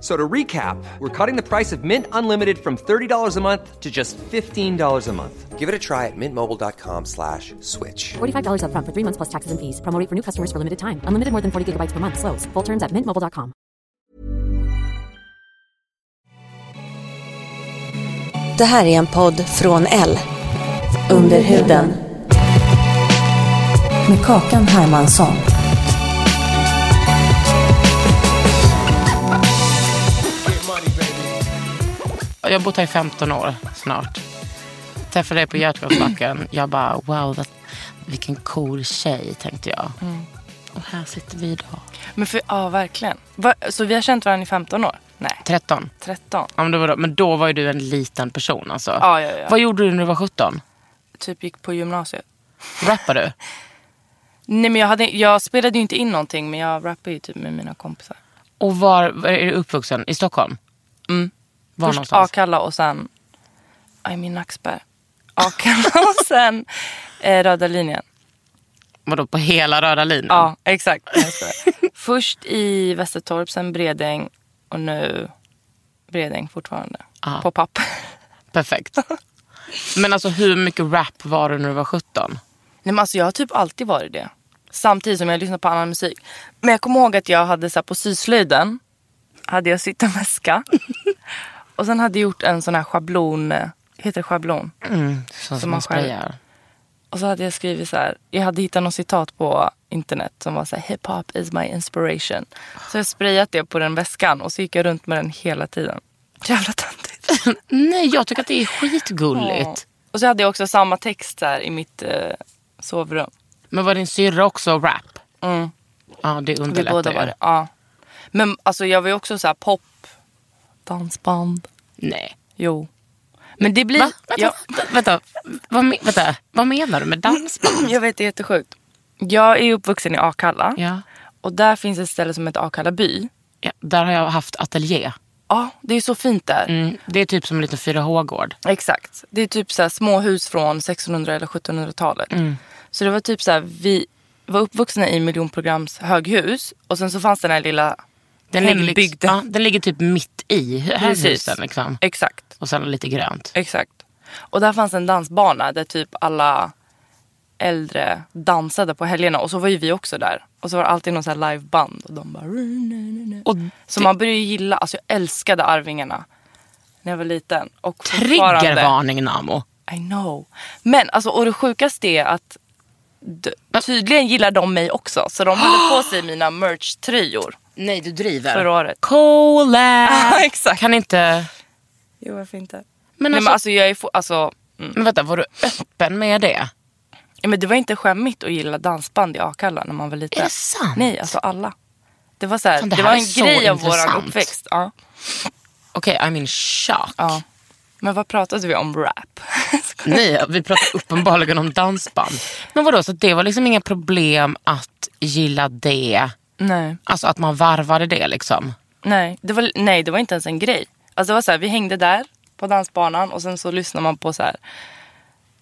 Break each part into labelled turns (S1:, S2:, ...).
S1: So to recap, we're cutting the price of Mint Unlimited from $30 a month to just $15 a month. Give it a try at mintmobile.com slash switch.
S2: $45 upfront for three months plus taxes and fees. Promo rate for new customers for limited time. Unlimited more than 40 gigabytes per month. Slows. Full terms at mintmobile.com.
S3: Det här är en podd från L. Under huden. Med Kakan Hermansson.
S4: Jag har bott här i 15 år snart. Träffade dig på Götgatsbacken. Jag bara, wow, that, vilken cool tjej, tänkte jag. Och här sitter vi idag.
S5: Men för, ja, verkligen. Va, så vi har känt varandra i 15 år? Nej,
S4: 13.
S5: 13.
S4: Ja, men, det var då, men då var ju du en liten person alltså.
S5: Ja, ja, ja.
S4: Vad gjorde du när du var 17?
S5: Typ gick på gymnasiet.
S4: Rappade du?
S5: Nej, men jag, hade, jag spelade ju inte in någonting, men jag rappade ju typ med mina kompisar.
S4: Och var, var är du uppvuxen? I Stockholm?
S5: Mm.
S4: Var
S5: Först
S4: någonstans?
S5: Akalla och sen... I mean Nacksberg. Akalla och sen eh, Röda linjen.
S4: Vadå, på hela röda linjen?
S5: Ja, exakt. Jag skojar. Först i Västertorp, sen Bredäng och nu Bredäng fortfarande.
S4: Ja.
S5: På papper.
S4: Perfekt. Men alltså hur mycket rap var du när du var 17?
S5: Nej, men alltså, jag har typ alltid varit det. Samtidigt som jag lyssnar på annan musik. Men jag kommer ihåg att jag hade så här, på syslöjden hade jag sytt en väska. och sen hade jag gjort en sån här schablon. eh, Heter det schablon?
S4: Som, man
S5: Som man själv-
S4: sprayar.
S5: Och så hade jag skrivit så här. Jag hade hittat något citat på internet som var så här. Hip hop is my inspiration. Så jag sprayat det på den väskan och så gick jag runt med den hela tiden. Jävla töntigt.
S4: Nej, jag tycker att det är skitgulligt.
S5: Och så hade jag också samma text så här i mitt eh, sovrum.
S4: Men var din syrra också rap?
S5: Mm.
S4: Ja, det
S5: Vi
S4: underlättar
S5: båda
S4: ju.
S5: var det. Ja. Men alltså jag var ju också så här pop, dansband.
S4: Nej.
S5: Jo. Men det blir...
S4: Va? Vänta,
S5: Jag,
S4: vänta, vänta, vad, me- vänta. Vad menar du med dansband?
S5: jag vet, det är jättesjukt. Jag är uppvuxen i Akalla.
S4: ja.
S5: Och där finns ett ställe som heter Akalla by.
S4: Ja, där har jag haft ateljé.
S5: Ja, det är så fint där.
S4: Mm, det är typ som en liten 4H-gård.
S5: Exakt. Det är typ så här små hus från 1600 eller 1700-talet. Så det var typ så här, vi var uppvuxna i miljonprograms höghus. Och sen så fanns den här lilla
S4: Den ligger, liksom,
S5: hembygden.
S4: ja, den ligger typ mitt i hu- husen. Liksom.
S5: Exakt.
S4: Och sen lite grönt.
S5: Exakt. Och där fanns en dansbana där typ alla äldre dansade på helgerna. Och så var ju vi också där. Och så var det alltid någon sån här liveband. Och de bara...
S4: Och
S5: Så man började ju gilla, alltså jag älskade Arvingarna. När jag var liten. Och fortfarande.
S4: triggervarning Namo.
S5: I know. Men alltså och det sjukaste är att d- tydligen gillar de mig också. Så de hade på sig mina merch-tröjor
S4: Nej, du driver.
S5: förra året.
S4: Collab!
S5: Exakt.
S4: Kan inte...
S5: Jo varför inte.
S4: Men,
S5: Nej
S4: alltså,
S5: men alltså jag är fo- alltså,
S4: men vänta, var du öppen med det?
S5: Ja, men det var inte skämmigt att gilla dansband i Akalla när man var liten.
S4: Är det sant?
S5: Nej, alltså alla. Det var, så här,
S4: Fan, det
S5: det
S4: här
S5: var
S4: är
S5: en
S4: så
S5: grej av
S4: intressant.
S5: vår uppväxt. Ja.
S4: Okej, I'm in shock.
S5: Ja. Men vad pratade vi om? Rap?
S4: Nej, vi pratar uppenbarligen om dansband. Men vadå, så det var liksom inga problem att gilla det?
S5: nej.
S4: Alltså att man varvade det liksom?
S5: Nej, det var, nej, det var inte ens en grej. Alltså, det var så här, vi hängde där på dansbanan och sen så lyssnade man på så här.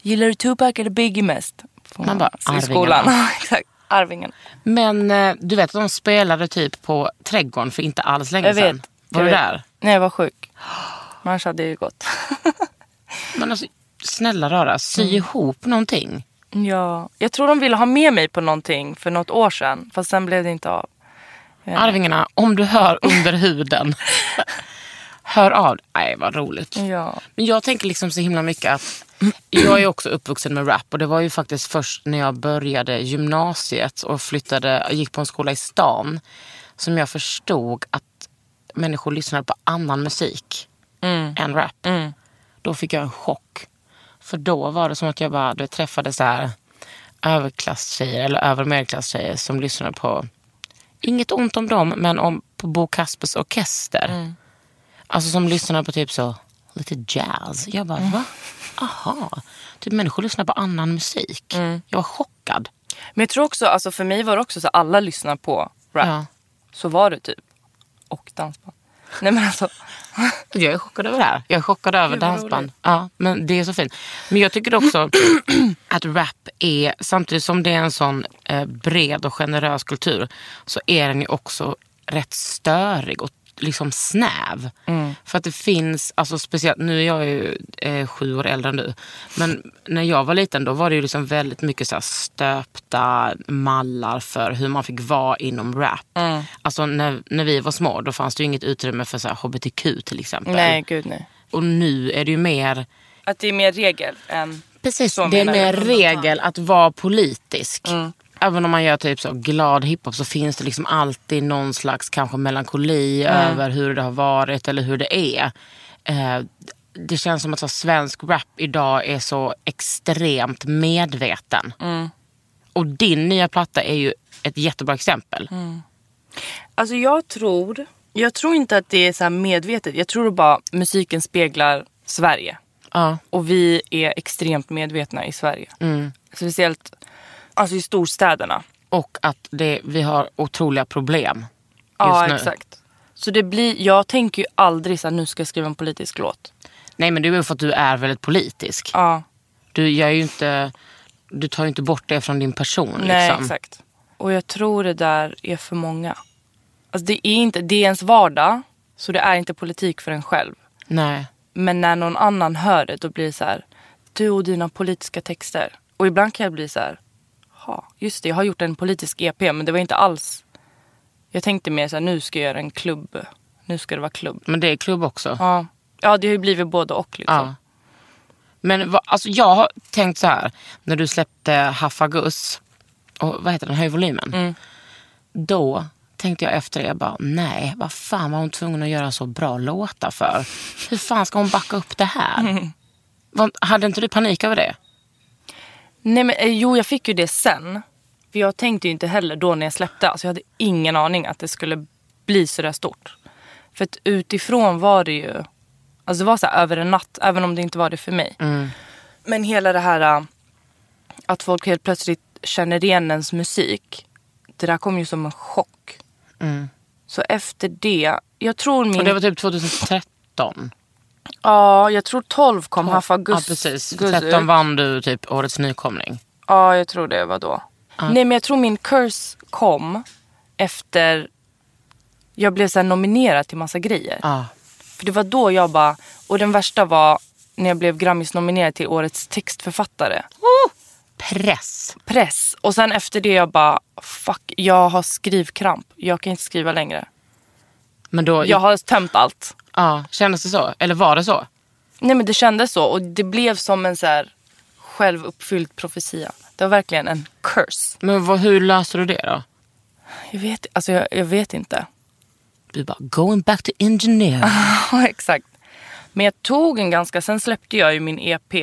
S5: Gillar du Tupac eller Biggie mest? Får
S4: Man bara,
S5: I
S4: Arvingarna.
S5: skolan. Ja, Exakt, Arvingen.
S4: Men eh, du vet att de spelade typ på Trädgården för inte alls länge
S5: Jag vet.
S4: sedan. Var
S5: jag
S4: du
S5: vet.
S4: där?
S5: Nej, jag var sjuk. Men Annars hade jag ju gått.
S4: Men alltså, snälla rara, sy
S5: Mm.
S4: ihop någonting.
S5: Ja, jag tror de ville ha med mig på någonting för något år sedan. Fast sen blev det inte av.
S4: Arvingarna, om du hör under huden, hör av Nej, vad roligt.
S5: Ja.
S4: Men jag tänker liksom så himla mycket att jag är också uppvuxen med rap och det var ju faktiskt först när jag började gymnasiet och flyttade, gick på en skola i stan som jag förstod att människor lyssnade på annan musik än rap. Då fick jag en chock. För då var det som att jag bara du vet, träffade så här överklasstjejer eller över och medelklasstjejer som lyssnade på, inget ont om dem, men om, på Bo Kaspers orkester. Alltså som lyssnade på typ så lite jazz. Jag bara va? Aha. Typ människor lyssnar på annan musik. Jag var chockad.
S5: Men jag tror också, alltså för mig var det också så alla lyssnar på rap.
S4: Ja.
S5: Så var det typ. Och dansband. Nej men alltså.
S4: Jag är chockad över det här. Jag är chockad över dansband. Ja, men det är så fint. Men jag tycker också att rap är, samtidigt som det är en sån eh, bred och generös kultur, så är den ju också rätt störig och liksom snäv. För att det finns, alltså speciellt, nu är jag ju eh, sju år äldre än du, men när jag var liten då var det ju liksom väldigt mycket så här stöpta mallar för hur man fick vara inom rap. Alltså när, när vi var små då fanns det ju inget utrymme för så här hbtq till exempel.
S5: Nej gud nej.
S4: Och nu är det ju mer
S5: Att det är mer regel än...
S4: Precis,
S5: Så
S4: det är
S5: menar
S4: mer
S5: jag.
S4: regel att vara politisk.
S5: Mm.
S4: Även om man gör typ så glad hiphop så finns det liksom alltid någon slags kanske melankoli
S5: Mm.
S4: över hur det har varit eller hur det är. Eh, det känns som att så svensk rap idag är så extremt medveten.
S5: Mm.
S4: Och din nya platta är ju ett jättebra exempel.
S5: Mm. Alltså jag tror, jag tror inte att det är så här medvetet. Jag tror bara musiken speglar Sverige.
S4: Ja.
S5: Och vi är extremt medvetna i Sverige. Speciellt alltså i storstäderna.
S4: Och att det, vi har otroliga problem just
S5: ja
S4: nu.
S5: exakt. Så det blir, jag tänker ju aldrig så här, nu ska jag skriva en politisk låt.
S4: Nej men det är väl för att du är väldigt politisk.
S5: Ja,
S4: Du, gör ju inte, du tar ju inte bort det från din person.
S5: nej
S4: liksom.
S5: exakt. Och jag tror det där är för många. Alltså det är inte, det är ens vardag. Så det är inte politik för en själv.
S4: Nej.
S5: Men när någon annan hör det då blir det så här, du och dina politiska texter. Och ibland kan jag bli så här, ja just det jag har gjort en politisk EP men det var inte alls. Jag tänkte mer så här, nu ska jag göra en klubb. Nu ska det vara klubb.
S4: Men det är klubb också.
S5: Ja, ja det har ju blivit både och liksom.
S4: Ja. Men vad, alltså jag har tänkt så här. När du släppte Haffagus, och vad heter den, Höj volymen.
S5: Mm.
S4: Då tänkte jag efter det, jag bara nej, vad fan var hon tvungen att göra så bra låtar för? Hur fan ska hon backa upp det här? Vad- Hade inte du panik över det?
S5: Nej men eh, jo jag fick ju det sen. För jag tänkte ju inte heller då när jag släppte. Alltså jag hade ingen aning att det skulle bli så där stort. För att utifrån var det ju, alltså det var så här över en natt. Även om det inte var det för mig.
S4: Mm.
S5: Men hela det här eh, att folk helt plötsligt känner igen ens musik. Det där kom ju som en chock. Så efter det, jag tror min...
S4: Mm. Och det var typ 2013.
S5: Ja, jag tror 12 kom Haffa Gus.
S4: ja, precis.
S5: Gus
S4: 13
S5: ut.
S4: vann du typ årets nykomling.
S5: Ja, jag tror det var då. Nej, men jag tror min curse kom efter... Jag blev så här nominerad till massa grejer.
S4: Ja.
S5: För det var då jag bara... Och den värsta var när jag blev Grammis-nominerad till årets textförfattare.
S4: Press.
S5: Press. Och sen efter det jag bara... Fuck, jag har skrivkramp. Jag kan inte skriva längre.
S4: Men då,
S5: Jag har tömt allt.
S4: ja, kändes det så? Eller var det så?
S5: Nej men det kändes så och det blev som en så här självuppfylld profetia. Det var verkligen en curse.
S4: Men vad, hur löser du det då?
S5: Jag vet, alltså jag, jag vet inte.
S4: Du bara, going back to engineer.
S5: Ja, exakt. Men jag tog en ganska, sen släppte jag ju min EP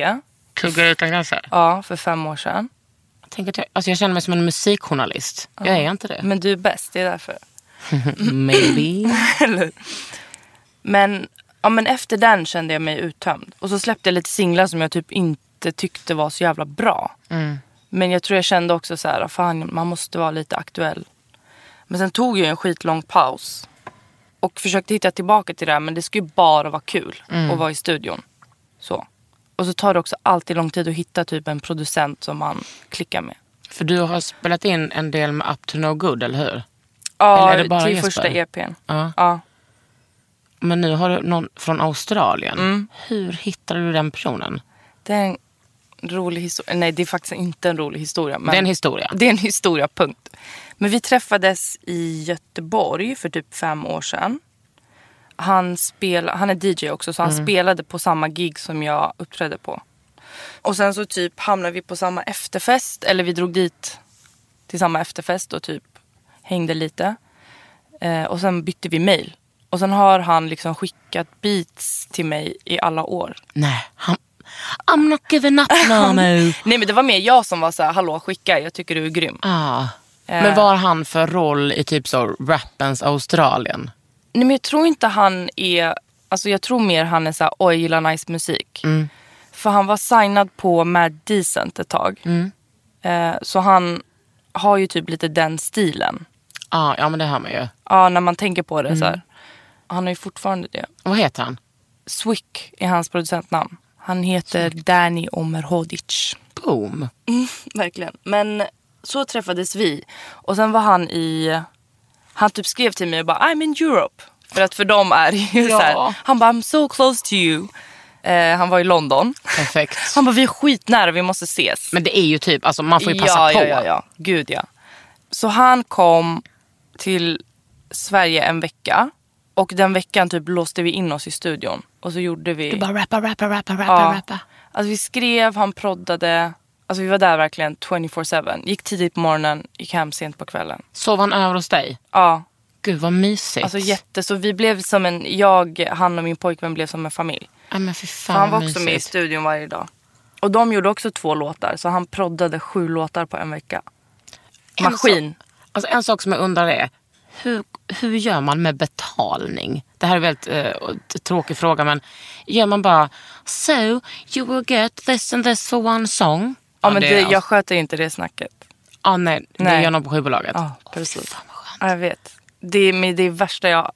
S4: Kuggar utan gränser.
S5: ja, för fem år sedan.
S4: Jag, tänker att jag, alltså jag känner mig som en musikjournalist. Jag är inte det.
S5: Men du är bäst, det är därför.
S4: Maybe.
S5: Eller? Men, ja, men efter den kände jag mig uttömd. Och så släppte jag lite singlar som jag typ inte tyckte var så jävla bra. Men jag tror jag kände också så här, fan man måste vara lite aktuell. Men sen tog jag ju en skitlång paus. Och försökte hitta tillbaka till det här men det skulle ju bara vara kul att vara i studion. Så. Och så tar det också alltid lång tid att hitta typ en producent som man klickar med.
S4: För du har spelat in en del med Up to No Good, eller hur?
S5: Ja,
S4: Eller är det bara
S5: till
S4: Jesper?
S5: första E EPn.
S4: Ja.
S5: Ja.
S4: Men nu har du någon från Australien. Hur hittade du den personen?
S5: Det är en rolig historia. Nej, det är faktiskt inte en rolig historia. Men
S4: Det är en historia.
S5: Det är en historia, punkt. Men vi träffades i Göteborg för typ fem år sedan. Han, spel, han är DJ också, så han
S4: Mm.
S5: spelade på samma gig som jag uppträdde på. Och sen så typ hamnade vi på samma efterfest, eller vi drog dit till samma efterfest och typ hängde lite. Eh, och sen bytte vi mail. Och sen har han liksom skickat beats till mig i alla år.
S4: Nej, han, I'm not giving up now. no.
S5: Nej men det var mer jag som var så här, hallå skicka, jag tycker du är grym.
S4: ah. Men vad har han för roll i typ så rappens Australien?
S5: Nej men jag tror inte han är, alltså jag tror mer han är så här, oj jag gillar nice musik. För han var signad på Mad Decent ett tag. Eh, så han har ju typ lite den stilen.
S4: Ah, ja, men det hör man ju.
S5: Ja, när man tänker på det så här. Han har ju fortfarande det.
S4: Vad heter han?
S5: Swick är hans producentnamn. Han heter Danny Omerhodic.
S4: Boom.
S5: Verkligen. Men så träffades vi. Och sen var han i... Han typ skrev till mig och bara I'm in Europe. För att för dem är det ju
S4: Ja.
S5: så här. Han bara I'm so close to you. Eh, han var i London.
S4: Perfekt.
S5: Han bara vi är skitnära, vi måste ses.
S4: Men det är ju typ, alltså man får ju passa
S5: ja,
S4: på.
S5: Ja, ja, ja. Gud ja. Så han kom till Sverige en vecka. Och den veckan typ låste vi in oss i studion. Och så gjorde vi...
S4: Du bara rappa, rappa, rappa, rappa,
S5: Ja.
S4: rappa.
S5: Alltså vi skrev, han proddade. Alltså vi var där verkligen 24-7. Gick tidigt på morgonen, gick hem sent på kvällen.
S4: Sov han över hos dig?
S5: Ja,
S4: Gud vad mysigt.
S5: alltså jätte. Så vi blev som en, jag, han och min pojkvän blev som en familj.
S4: ja, men fy
S5: För
S4: fan
S5: han var
S4: vad
S5: också med i
S4: mysigt.
S5: studion varje dag. Och de gjorde också två låtar. Så han proddade sju låtar på en vecka.
S4: En
S5: Maskin.
S4: Alltså en sak som jag undrar är, hur, hur gör man med betalning? Det här är en väldigt eh, t- tråkig fråga men gör man bara so you will get this and this for one song?
S5: Ja, men det,
S4: är- alltså-
S5: jag sköter inte det snacket.
S4: ja, nej, det
S5: Nej.
S4: gör någon på skivbolaget.
S5: Ja,
S4: Åh,
S5: precis.
S4: fy fan vad skönt.
S5: Ja, jag vet. Det är men det är värsta jag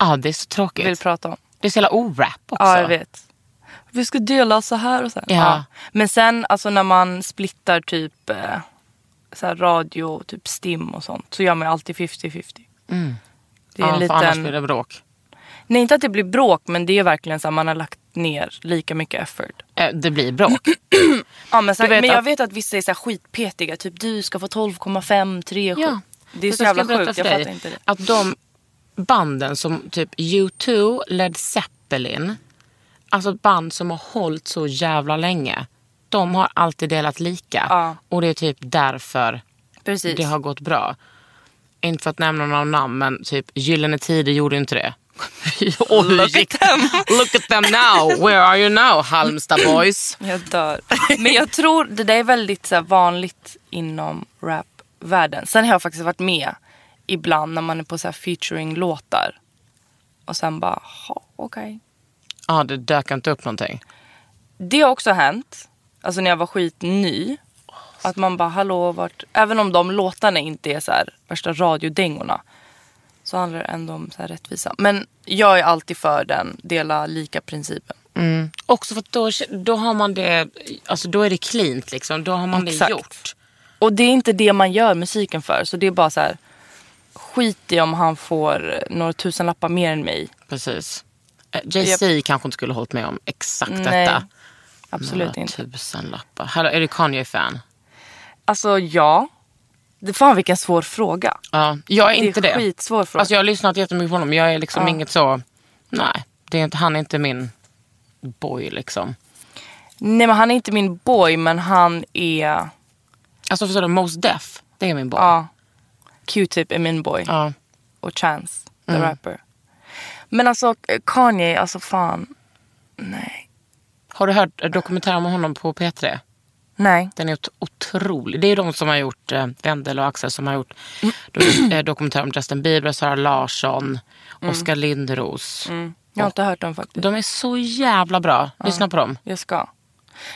S4: Ja, det är så tråkigt.
S5: vill prata om.
S4: det är så jävla orap också.
S5: Ja, jag vet. Vi ska dela så här och så här.
S4: Ja.
S5: Men sen alltså när man splittar typ eh, så här radio, typ STIM och sånt så gör man ju alltid 50-50. Det är
S4: Mm. ja,
S5: en
S4: för annars
S5: liten...
S4: blir det bråk.
S5: Nej, inte att det blir bråk men det är verkligen så här man har lagt ner lika mycket effort.
S4: Eh, det blir bråk.
S5: Ja, men så här,
S4: Du vet
S5: men jag
S4: att-
S5: vet att vissa är så här skitpetiga. Typ du ska få 12,5, 3, 7.
S4: Ja.
S5: Det är
S4: Vet
S5: så
S4: du vad
S5: jävla
S4: jag ska berätta
S5: sjukt.
S4: för
S5: Jag
S4: dig?
S5: fattar inte det.
S4: Att de banden som typ U2, Led Zeppelin, alltså band som har hållit så jävla länge, de har alltid delat lika.
S5: Ja.
S4: Och det är typ därför
S5: Precis.
S4: det har gått bra. Inte för att nämna några namn, men typ Gyllene Tider gjorde inte det. Och hur
S5: Look at
S4: gick-
S5: them.
S4: Look at them now! Where are you now, Halmstad boys?
S5: Jag dör. Men jag tror det där är väldigt så här, vanligt inom rapvärlden. Sen har jag faktiskt varit med ibland när man är på så här, featuring-låtar. Och sen bara, "Ha, okej.
S4: Ja, det dök inte upp någonting.
S5: Det har också hänt. Alltså när jag var skitny. Att man bara, hallå vart... Även om de låtarna inte är så här, värsta radiodängorna. Så handlar det ändå om så här, rättvisa. Men jag är alltid för den dela lika-principen.
S4: Också för att då, då har man det, alltså då är det cleant liksom. Då har man
S5: Exakt.
S4: det gjort.
S5: Och det är inte det man gör musiken för. Så det är bara så här. Skit i om han får några tusen lappar mer än mig.
S4: Precis. Eh, Jay-Z kanske inte skulle hållit med om exakt
S5: Nej,
S4: detta.
S5: Absolut
S4: Några
S5: inte.
S4: tusenlappar. Hallå, är du Kanye-fan?
S5: Alltså ja. Det, fan vilken svår fråga.
S4: Ja, jag är
S5: det är
S4: inte det.
S5: skitsvår fråga.
S4: Alltså jag har lyssnat jättemycket på honom. Jag är liksom inget så, nej, det är inte, han är inte min boy liksom.
S5: Nej men han är inte min boy men han är...
S4: Alltså förstår du, Mos Def, det är min boy.
S5: Ja. Q-tip är min boy.
S4: Ja. Mm.
S5: Och Chance, the rapper. Men alltså Kanye, alltså fan. Nej.
S4: Har du hört eh, dokumentären om honom på P3?
S5: Nej.
S4: Den är ot- otrolig. Det är de som har gjort, eh, Wendel och Axel, som har gjort
S5: Mm.
S4: do- eh, dokumentärer om Justin Bieber, Sara Larsson,
S5: Mm.
S4: Oskar Lindros.
S5: Jag har inte hört dem faktiskt.
S4: De är så jävla bra. Lyssna på dem.
S5: Jag ska.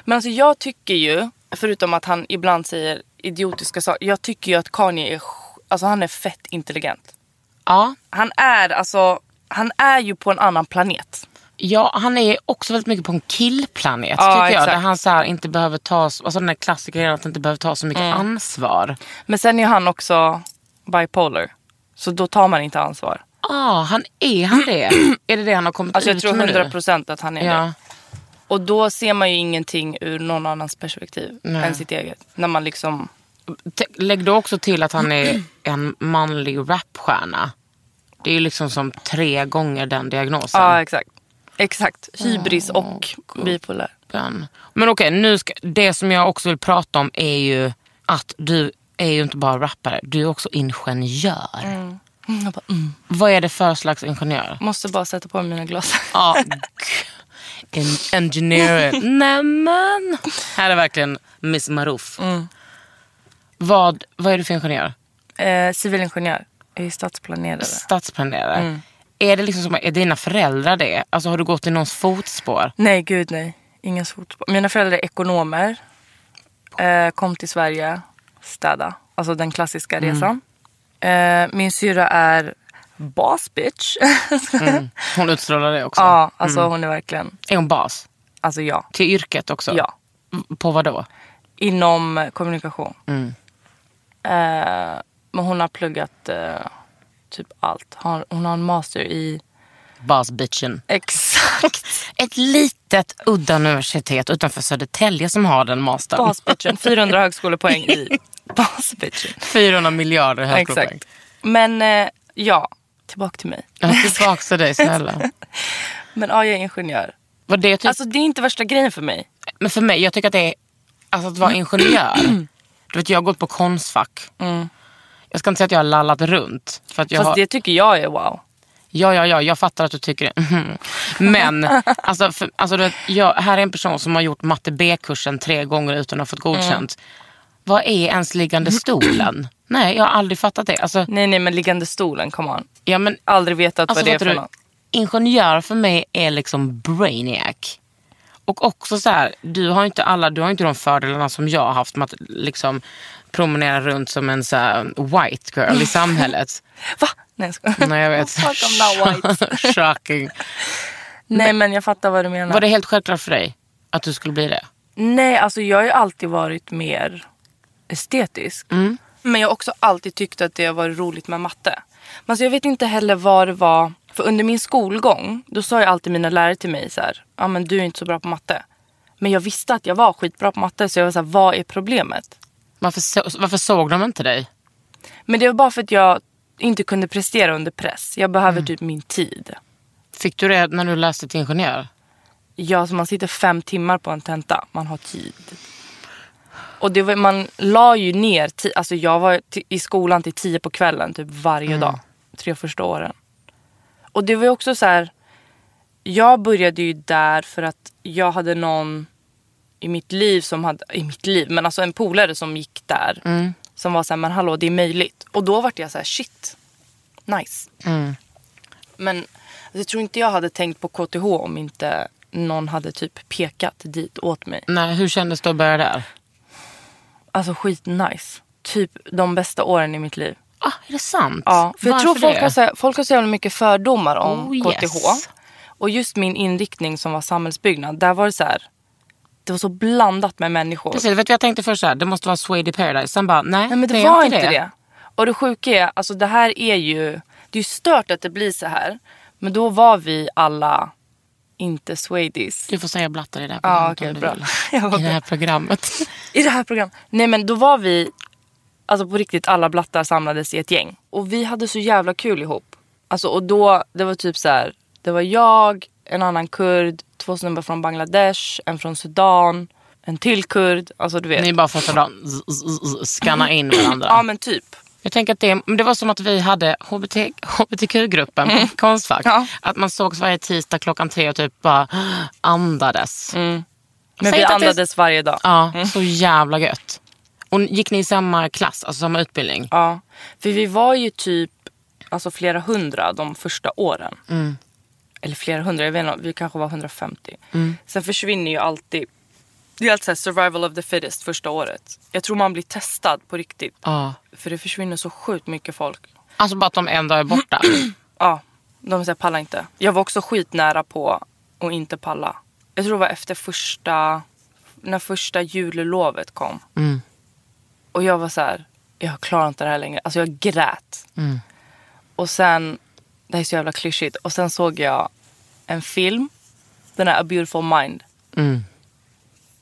S5: Men alltså jag tycker ju, förutom att han ibland säger idiotiska saker. Jag tycker ju att Kanye är, sj- alltså han är fett intelligent.
S4: Ja,
S5: Han är alltså, han är ju på en annan planet.
S4: Ja, han är också väldigt mycket på en killplanet
S5: Ja,
S4: tycker jag.
S5: exakt.
S4: Där han så här inte behöver ta, s- alltså den där klassikern att inte behöver ta så
S5: Mm.
S4: mycket ansvar.
S5: Men sen är han också bipolar. Så då tar man inte ansvar.
S4: Ja, ah, han är han det? är Mm, det det han har kommit
S5: Alltså jag
S4: ut
S5: tror
S4: med nu?
S5: 100 procent att han är det.
S4: Ja,
S5: Och då ser man ju ingenting ur någon annans perspektiv
S4: Nej.
S5: än sitt eget. När man liksom,
S4: T- Lägg då också till att han är en manlig rapstjärna. Det är ju liksom som tre gånger den diagnosen.
S5: ja exakt. Exakt, hybris
S4: Ah,
S5: och bipolär.
S4: Den. Men okej, nu ska, det som jag också vill prata om är ju att du är ju inte bara rappare, du är också ingenjör.
S5: Mm, jag bara, mm.
S4: Vad är det för slags ingenjör?
S5: Måste bara sätta på mig mina glasögon.
S4: Ja, g- en engineer. Nämen! Här är verkligen Miss Marouf. Vad, vad är du för ingenjör?
S5: Eh, civilingenjör. Jag är stadsplanerare.
S4: Stadsplanerare.
S5: Mm.
S4: Är det liksom som, är dina föräldrar det? Alltså har du gått i någons fotspår?
S5: Nej, gud nej. Ingen fotboll. Mina föräldrar är ekonomer. Eh, kom till Sverige, städa. Alltså den klassiska resan. Eh, min syra är boss bitch.
S4: Hon utstrålar det också.
S5: ja, alltså hon är verkligen,
S4: Är hon bas?
S5: alltså ja.
S4: Till yrket också?
S5: Ja.
S4: M- På vad då?
S5: Inom eh, kommunikation. Eh, men hon har pluggat eh, typ allt. Har- Hon har en master i
S4: Basbitchen.
S5: exakt
S4: Ett litet udda universitet utanför Södertälje som har den mastern.
S5: boss bitchen. 400 högskolepoäng i boss bitchen.
S4: 400 miljarder högskolepoäng.
S5: Exakt. Men eh, ja, tillbaka till mig.
S4: Jag har tillbaka till dig snälla.
S5: Men ja, jag är ingenjör.
S4: Var det typ,
S5: Alltså det är inte värsta grejen för mig.
S4: men för mig, jag tycker att det är, alltså att
S5: Mm.
S4: vara ingenjör. du vet jag har gått på konstfack. Jag ska inte säga att jag har lallat runt. För att jag
S5: Mm. Fast
S4: har,
S5: det tycker jag är wow.
S4: Ja, ja, ja, jag fattar att du tycker det. Mhm. Men alltså, för, alltså, du vet, jag, här är en person som har gjort matte B-kursen tre gånger utan att ha fått godkänt.
S5: Mm.
S4: Vad är ens liggande stolen? Nej, jag har aldrig fattat det. Alltså,
S5: Nej nej men liggande stolen, come on.
S4: ja, men,
S5: Aldrig vetat
S4: alltså,
S5: vad det är
S4: fattar
S5: för
S4: du?
S5: något.
S4: Ingenjör för mig är liksom brainiac. Och också så här, du har inte alla, du har inte de fördelarna som jag har haft med att liksom promenera runt som en så här white girl i samhället.
S5: Va? Nej jag skojar.
S4: Nej, jag vet.
S5: Fuck, I'm not white.
S4: Shocking.
S5: nej men jag fattar vad du menar.
S4: Var det helt självklart för dig att du skulle bli det?
S5: Nej alltså jag har ju alltid varit mer estetisk. Men jag har också alltid tyckt att det har varit roligt med matte. Men alltså, jag vet inte heller vad det var. För under min skolgång då sa ju alltid mina lärare till mig så här. Ja men du är inte så bra på matte. Men jag visste att jag var skitbra på matte så jag var så här, vad är problemet?
S4: Varför, så, varför såg de inte dig?
S5: Men det var bara för att jag inte kunde prestera under press. Jag behöver typ min tid.
S4: Fick du det när du läste till ingenjör?
S5: Ja, så man sitter fem timmar på en tenta. Man har tid. Och det var, man la ju ner tid. Alltså jag var ti- i skolan till tio på kvällen typ varje dag. Tre första åren. Och det var ju också så här. Jag började ju där för att jag hade någon i mitt liv som hade, i mitt liv, men alltså en polare som gick där. Som var så här, men hallå det är möjligt. Och då vart jag så här, shit, nice. Men alltså, jag tror inte jag hade tänkt på KTH om inte någon hade typ pekat dit åt mig.
S4: Nej, hur kändes det att börja där?
S5: Alltså skitnice. Typ de bästa åren i mitt liv.
S4: Ah, är det sant?
S5: Ja, för jag
S4: Varför
S5: tror folk
S4: det?
S5: har, så, här- folk har så jävla mycket fördomar om
S4: Oh,
S5: KTH.
S4: yes.
S5: Och just min inriktning som var samhällsbyggnad, där var det så här, det var så blandat med människor.
S4: Precis, vet du, jag tänkte först så här, det måste vara Swede i Paradise. Sen bara, nej,
S5: Nej men det,
S4: är
S5: var inte det. Och det sjuka är, alltså det här är ju, det är ju stört att det blir så här. Men då var vi alla inte swedis.
S4: Du får säga blatta i det här
S5: Ja,
S4: programmet
S5: okej,
S4: om du
S5: bra.
S4: vill.
S5: Jag var
S4: I det här
S5: bra.
S4: programmet.
S5: I det här programmet. Nej men då var vi, alltså på riktigt alla blattar samlades i ett gäng. Och vi hade så jävla kul ihop. Alltså och då, det var typ så här, det var jag, en annan kurd, två snubbar från Bangladesh, en från Sudan, en till kurd. Alltså du vet.
S4: Ni bara första dagen z- z- z- skanna in varandra.
S5: Ja men typ.
S4: Jag tänker att det, men det var som att vi hade HBT, hbtq-gruppen på Konstfack.
S5: Mm. Ja.
S4: Att man sågs varje tisdag klockan tre och typ bara andades.
S5: Mm. Men
S4: Säg
S5: vi
S4: inte att det är-
S5: andades Mm. varje dag.
S4: Ja, så jävla gött. Och gick ni i samma klass, alltså samma utbildning?
S5: Ja, för vi var ju typ alltså flera hundra de första åren. Eller flera hundra, jag vet inte, vi kanske var 150. Sen försvinner ju alltid. Det är alltid så här survival of the fittest första året. Jag tror man blir testad på riktigt.
S4: Ja.
S5: För det försvinner så sjukt mycket folk.
S4: Alltså bara att de en dag är borta.
S5: Ja, de säger pallar inte. Jag var också skitnära på att inte palla. Jag tror det var efter första, när första jullovet kom.
S4: Mm.
S5: Och jag var så här, jag klarar inte det här längre. Alltså jag grät.
S4: Mm.
S5: Och sen, det här är så jävla klyschigt. Och sen såg jag en film, den här A beautiful mind.
S4: Mm.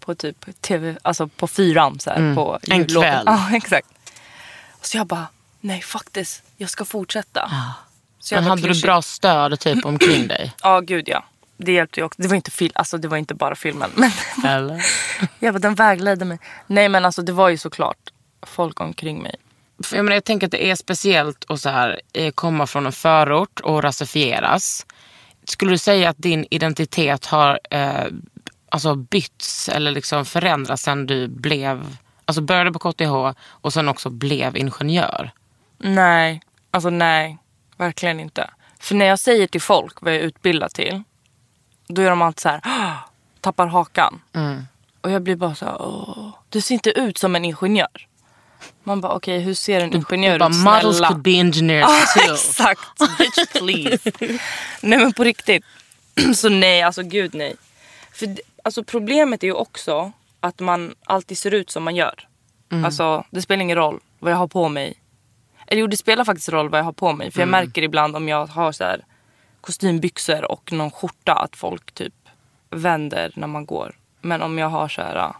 S5: På typ tv, alltså på fyran så här. På
S4: Mm. En
S5: jullovet.
S4: kväll.
S5: Ja, exakt. Så jag bara, nej fuck this, jag ska fortsätta. Så
S4: Ah. Men
S5: jävla
S4: hade du
S5: klyschigt.
S4: bra stöd typ omkring dig?
S5: Ja, gud ja. Det hjälpte ju också. Det var inte, fil- alltså, det var inte bara filmen. Men
S4: Eller?
S5: jag bara, den vägledde mig. Nej, men alltså det var ju såklart folk omkring mig.
S4: För jag, menar, jag tänker att det är speciellt att så här, eh, komma från en förort och rasifieras. Skulle du säga att din identitet har eh, alltså bytts eller liksom förändrats sen du blev, alltså började på KTH och sen också blev ingenjör?
S5: Nej, alltså nej. Verkligen inte. För när jag säger till folk vad jag är utbildad till, då är de alltid så här, "Ah!" tappar hakan.
S4: Mm.
S5: Och jag blir bara så här, Åh, du ser inte ut som en ingenjör. Man bara, okej hur ser en ingenjör
S4: Du bara,
S5: ut?
S4: models
S5: Snälla.
S4: could be engineers
S5: Ah,
S4: too.
S5: exakt, bitch please. nej men på riktigt. så nej, alltså gud nej. För d- alltså, problemet är ju också att man alltid ser ut som man gör. Alltså det spelar ingen roll vad jag har på mig. Eller jo det spelar faktiskt roll vad jag har på mig. För jag märker ibland om jag har så här kostymbyxor och någon skjorta att folk typ vänder när man går. Men om jag har så här ah,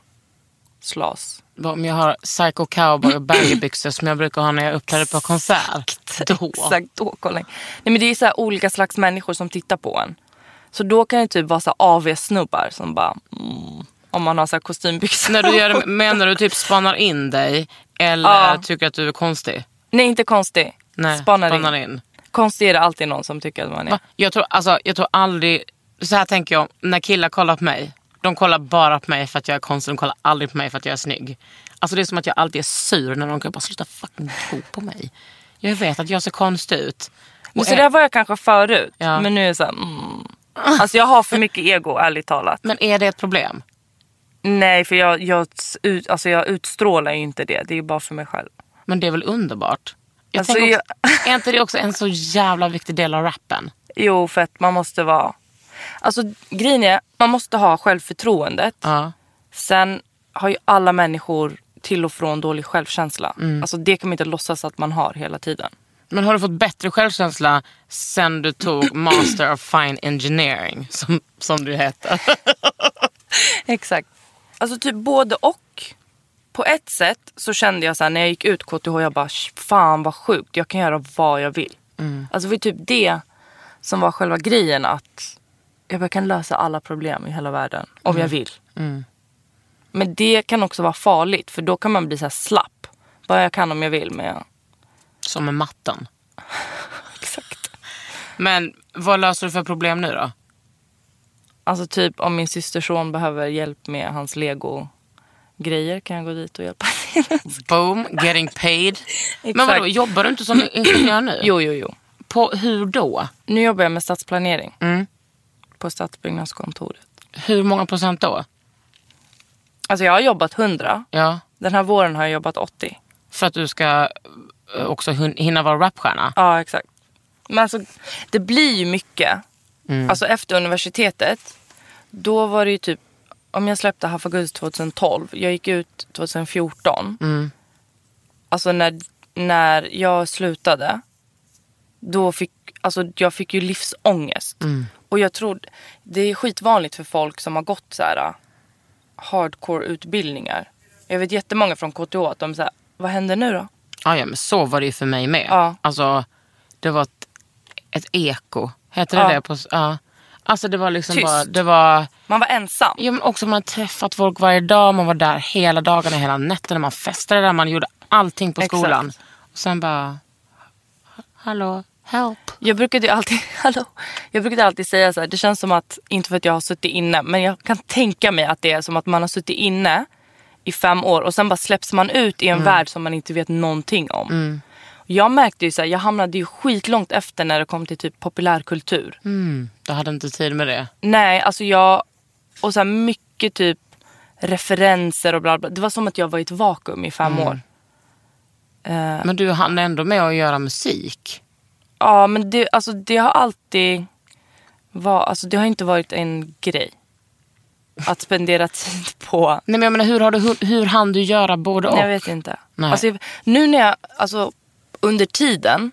S5: slas.
S4: Bara Om jag har psycho cowboy och baggybyxor som jag brukar ha när jag uppträder på konsert. Då.
S5: Exakt, då kollar jag. Nej men det är så här olika slags människor som tittar på en. Så då kan det typ vara så av snubbar som bara mm, om man har så här kostymbyxor.
S4: När du gör, menar du typ spanar in dig eller
S5: Ja.
S4: tycker att du är konstig?
S5: Nej inte konstig.
S4: Nej,
S5: spanar,
S4: spanar
S5: in.
S4: in.
S5: Konstig är det alltid någon som tycker att man är.
S4: Va? Jag tror, alltså, jag tror aldrig, så här tänker jag, när killar kollar på mig, de kollar bara på mig för att jag är konstig, de kollar aldrig på mig för att jag är snygg. Alltså det är som att jag alltid är sur när någon kan bara sluta fucking tro på mig. Jag vet att jag ser konstig ut.
S5: Men
S4: Och
S5: så
S4: är-
S5: där var jag kanske förut.
S4: Eh. Ja.
S5: Men nu är jag så här, mm. Alltså jag har för mycket ego ärligt talat.
S4: Men är det ett problem?
S5: Nej för jag, jag, ut, alltså, jag utstrålar ju inte det. Det är ju bara för mig själv.
S4: Men det är väl underbart? Jag
S5: Alltså,
S4: tänker också, Är inte det också en så jävla viktig del av rappen?
S5: Jo för att man måste vara. Alltså grejen är man måste ha självförtroendet.
S4: Ja.
S5: Sen har ju alla människor till och från dålig självkänsla. Alltså det kan man inte låtsas att man har hela tiden.
S4: Men har du fått bättre självkänsla sen du tog Master of Fine Engineering, som, som du heter?
S5: Exakt. Alltså typ både och. På ett sätt så kände jag så här när jag gick ut KTH, jag bara "Sh, fan vad sjukt, jag kan göra vad jag vill. Alltså det var typ det som var själva grejen att jag bara kan lösa alla problem i hela världen om jag vill. Men det kan också vara farligt för då kan man bli så här slapp. Bara jag kan om jag vill men jag...
S4: Som med matten.
S5: Exakt.
S4: Men vad löser du för problem nu då?
S5: Alltså typ om min systerson behöver hjälp med hans lego grejer kan jag gå dit och hjälpa till.
S4: Boom, getting paid. Men vadå,
S5: Exakt.
S4: jobbar du inte som ingenjör nu?
S5: Jo, jo, jo.
S4: På, hur då?
S5: Nu jobbar jag med stadsplanering
S4: Mm.
S5: på stadsbyggnadskontoret.
S4: Hur många procent då?
S5: Alltså jag har jobbat 100.
S4: Ja,
S5: Den här våren har jag jobbat 80.
S4: för att du ska eh, också hin- hinna vara rapstjärna?
S5: Ja, exakt. Men alltså det blir ju mycket. Alltså efter universitetet, då var det ju typ, om jag släppte Half August 2012, jag gick ut 2014. Alltså när, när jag slutade, då fick alltså jag fick ju livsångest. Och jag tror, det är skitvanligt för folk som har gått så här ah, hardcore utbildningar. Jag vet jättemånga från KTH att de säger, vad händer nu då?
S4: Ja, ja, men så var det ju för mig med.
S5: Ja.
S4: Alltså, det var ett, ett eko. Heter det
S5: Ja.
S4: det? På, s- ja. Alltså det var liksom
S5: Tyst.
S4: bara... Det var,
S5: Man var ensam.
S4: Ja men också man har träffat folk varje dag, man var där hela dagarna, hela nätterna, man festade där, man gjorde allting på
S5: Exakt.
S4: skolan. Och sen bara, hallå, help.
S5: Jag brukade ju alltid, hallå, jag brukade alltid säga så här, det känns som att, inte för att jag har suttit inne, men jag kan tänka mig att det är som att man har suttit inne i fem år och sen bara släpps man ut i en värld som man inte vet någonting om. Jag märkte ju så här, jag hamnade ju skitlångt efter när det kom till typ populärkultur.
S4: Mm. Du hade inte tid med det.
S5: Nej, alltså jag... Och så här mycket typ referenser och bla bla. Det var som att jag var i ett vakuum i fem år. Eh,
S4: Men du hann ändå med att göra musik.
S5: Ja, men det, alltså, det har alltid... Var, alltså, det har inte varit en grej. Att spendera tid på...
S4: Nej men jag menar hur, har du, hur, hur hann du göra både och?
S5: Nej, jag vet inte.
S4: Nej.
S5: Alltså, nu när jag... Alltså, under tiden,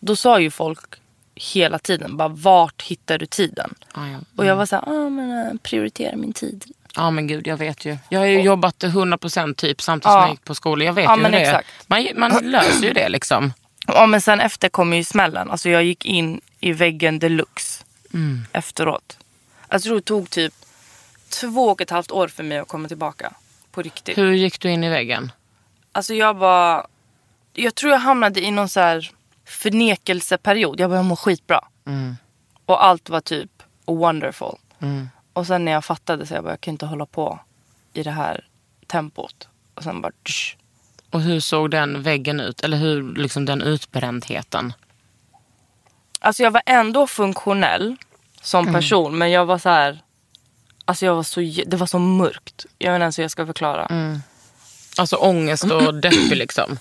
S5: då sa ju folk hela tiden bara vart hittar du tiden?
S4: Ja, ja.
S5: Och jag var så här, ah, men, eh, prioritera min tid.
S4: ja men gud jag vet ju. Jag har ju jobbat 100% typ samtidigt som
S5: Ja.
S4: jag gick på skolan. Jag vet
S5: Ja,
S4: ju
S5: men
S4: hur det
S5: exakt.
S4: är. Man, man löser ju det liksom.
S5: Ja men sen efter kom ju smällen. Alltså jag gick in i väggen deluxe
S4: Mm.
S5: efteråt. Alltså det tog typ två och ett halvt år för mig att komma tillbaka. På riktigt.
S4: Hur gick du in i väggen?
S5: Alltså jag bara... jag tror jag hamnade i någon så här förnekelseperiod. Jag började må skitbra. Och allt var typ wonderful. Och sen när jag fattade så jag bara, jag kan inte hålla på i det här tempot. Och sen bara, tsch.
S4: Och hur såg den väggen ut? Eller hur, liksom den utbrändheten?
S5: Alltså jag var ändå funktionell som person. Men jag var så här, alltså jag var så, jä- det var så mörkt. Jag vet inte ens hur jag ska förklara.
S4: Alltså ångest och deppig liksom.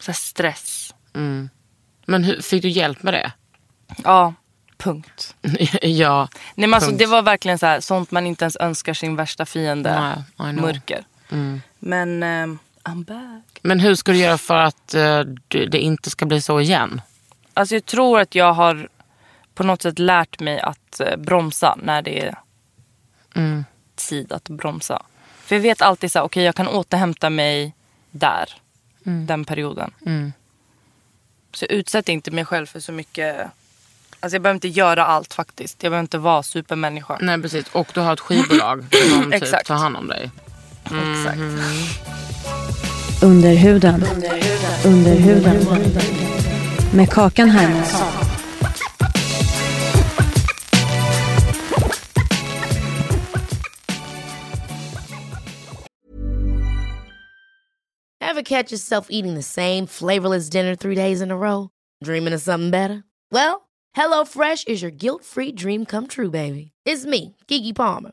S5: Så här stress.
S4: Men hur, fick du hjälp med det?
S5: Ja, punkt.
S4: ja.
S5: Nej, men alltså,
S4: Punkt.
S5: det var verkligen så här, sånt man inte ens önskar sin värsta fiende.
S4: Nej, I know. Mm.
S5: mörker. Men ehm, I'm back.
S4: Men hur ska du göra för att eh, du- det inte ska bli så igen?
S5: Alltså, jag tror att jag har på något sätt lärt mig att eh, bromsa när det är
S4: Mm.
S5: tid att bromsa. För jag vet alltid så här, okej jag kan återhämta mig där.
S4: Mm.
S5: Den perioden. Så jag utsätter inte mig själv för så mycket. Alltså jag behöver inte göra allt faktiskt. Jag behöver inte vara supermänniska.
S4: Nej precis, och du har ett skivbolag som typ
S5: Exakt.
S4: tar hand om dig.
S5: Exakt.
S6: Under huden. Under huden. Med Kakan Hermansson.
S7: Ever catch yourself eating the same flavorless dinner three days in a row? Dreaming of something better? Well, HelloFresh is your guilt free dream come true, baby. It's me, Gigi Palmer.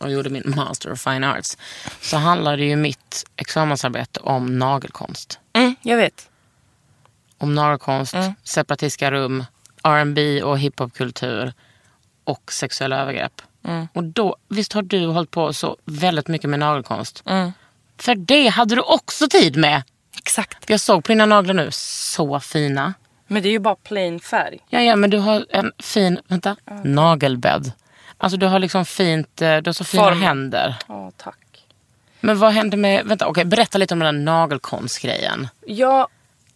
S4: och gjorde min Master of Fine Arts så handlade ju mitt examensarbete om nagelkonst.
S5: Mm, jag vet.
S4: Om nagelkonst, separatistiska rum, R&B och hiphopkultur och sexuella övergrepp. Och då, visst har du hållit på så väldigt mycket med nagelkonst? För det hade du också tid med!
S5: Exakt.
S4: Jag såg på dina naglar nu, så fina.
S5: Men det är ju bara plain färg.
S4: Ja, ja, men du har en fin, vänta, nagelbädd. Alltså du har liksom fint, eh, du har så fina
S5: Form.
S4: händer.
S5: Ja, tack.
S4: Men vad hände med, vänta, okej, berätta lite om den där nagelkonstgrejen.
S5: Jag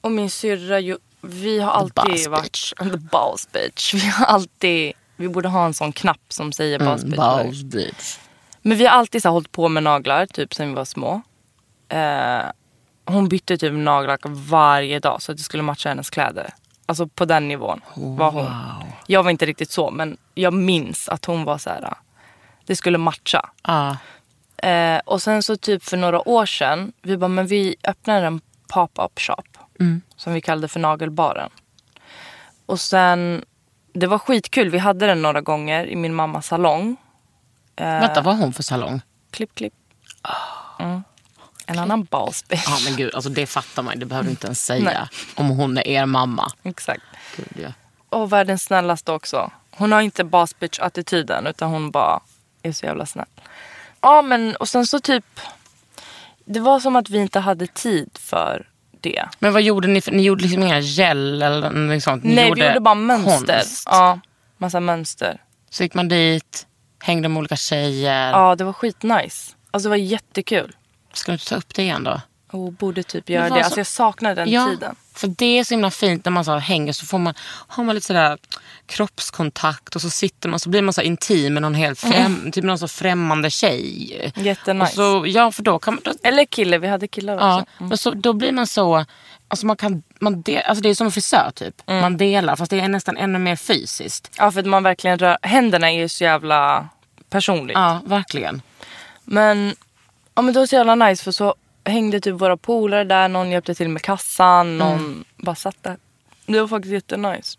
S5: och min syrra, ju- vi har alltid
S4: Boss
S5: varit...
S4: bitch.
S5: The boss bitch. Vi har alltid... Vi borde ha en sån knapp som säger Mm, boss bitch.
S4: Balls bitch.
S5: Men vi har alltid så här, hållit på med naglar, typ sen vi var små. Eh, hon bytte typ nagellack varje dag så att det skulle matcha hennes kläder. Alltså på den nivån var hon. Jag var inte riktigt så, men jag minns att hon var så här... "Ah, Det skulle matcha.
S4: Ja,
S5: Eh, och sen så typ för några år sedan, vi bara, men vi öppnade en pop-up shop. Som vi kallade för Nagelbaren. Och sen, det var skitkul. Vi hade den några gånger i min mammas salong.
S4: vänta, vad har hon för salong?
S5: Klipp, klipp. Mm. En annan basbitch.
S4: Ja, men gud, alltså det fattar man ju, det behöver du inte ens säga.
S5: Nej.
S4: Om hon är er mamma.
S5: Exakt.
S4: Gud, ja.
S5: Och världens snällaste också. Hon har inte basbitch-attityden utan hon bara är så jävla snäll. Ja men och sen så typ, det var som att vi inte hade tid för det.
S4: Men vad gjorde ni? För, ni gjorde liksom inga gel eller något sånt? Ni
S5: Nej, vi gjorde bara mönster.
S4: konst.
S5: Ja, massa mönster.
S4: Så gick man dit, hängde med olika tjejer.
S5: Ja, det var skitnice. Alltså det var jättekul.
S4: Ska du inte ta upp det igen då?
S5: Och borde typ
S4: Det
S5: göra
S4: var
S5: det.
S4: så-
S5: Alltså jag saknar den tiden.
S4: för det är så himla fint när man så här hänger så får man, har man lite sådär kroppskontakt och så sitter man så blir man så här intim med någon helt främ, typ någon så främmande tjej.
S5: Jättenice.
S4: Och så, ja, för då kan man, då,
S5: Eller kille, vi hade killar också.
S4: ja, mm. men så, då blir man så, alltså man kan, man de, alltså det är som en frisör typ. Man delar fast det är nästan ännu mer fysiskt.
S5: Ja, för att man verkligen rör... Händerna är ju så jävla personligt.
S4: Ja, verkligen.
S5: Men, ja, men det var så jävla nice för så hängde typ våra polare
S4: Mm.
S5: där, någon hjälpte till med kassan, någon bara satt där. Det var faktiskt jättenice.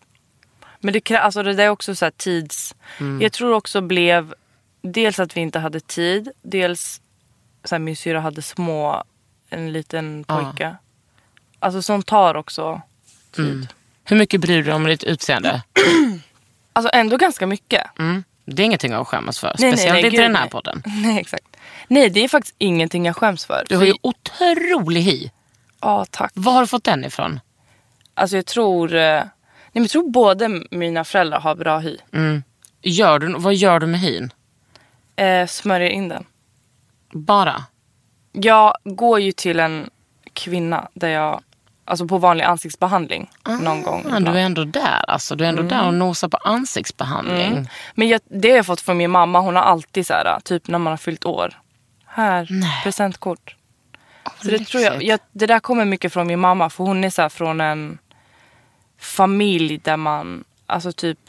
S5: Men det, krä- alltså det där är också så här tids...
S4: Mm.
S5: Jag tror också blev dels att vi inte hade tid. Dels så här, min syra hade små, en liten pojke. Alltså som tar också tid.
S4: Hur mycket bryr du dig om ditt utseende?
S5: Alltså ändå ganska mycket.
S4: Mm. Det är ingenting att skämmas för.
S5: Nej, nej,
S4: Speciellt
S5: nej,
S4: inte
S5: gud,
S4: den här
S5: nej.
S4: podden.
S5: Nej exakt. Nej det är faktiskt ingenting jag skäms för.
S4: Du har ju otrolig hy.
S5: Ja tack.
S4: Var har du fått den ifrån?
S5: Alltså jag tror, eh, nej, men jag tror båda mina föräldrar har bra hy.
S4: Gör du, vad gör du med hyn?
S5: Eh, smörjer in den.
S4: Bara?
S5: Jag går ju till en kvinna där jag, alltså på vanlig ansiktsbehandling någon gång.
S4: Ah, du är ändå där alltså. Du är ändå där och nosar på ansiktsbehandling.
S5: Men jag, det har jag fått från min mamma. Hon har alltid så här, typ när man har fyllt år. Här,
S4: Nej.
S5: presentkort. Så det,
S4: lyxigt.
S5: tror jag, jag, det där kommer mycket från min mamma. För hon är så här från en familj där man, alltså typ,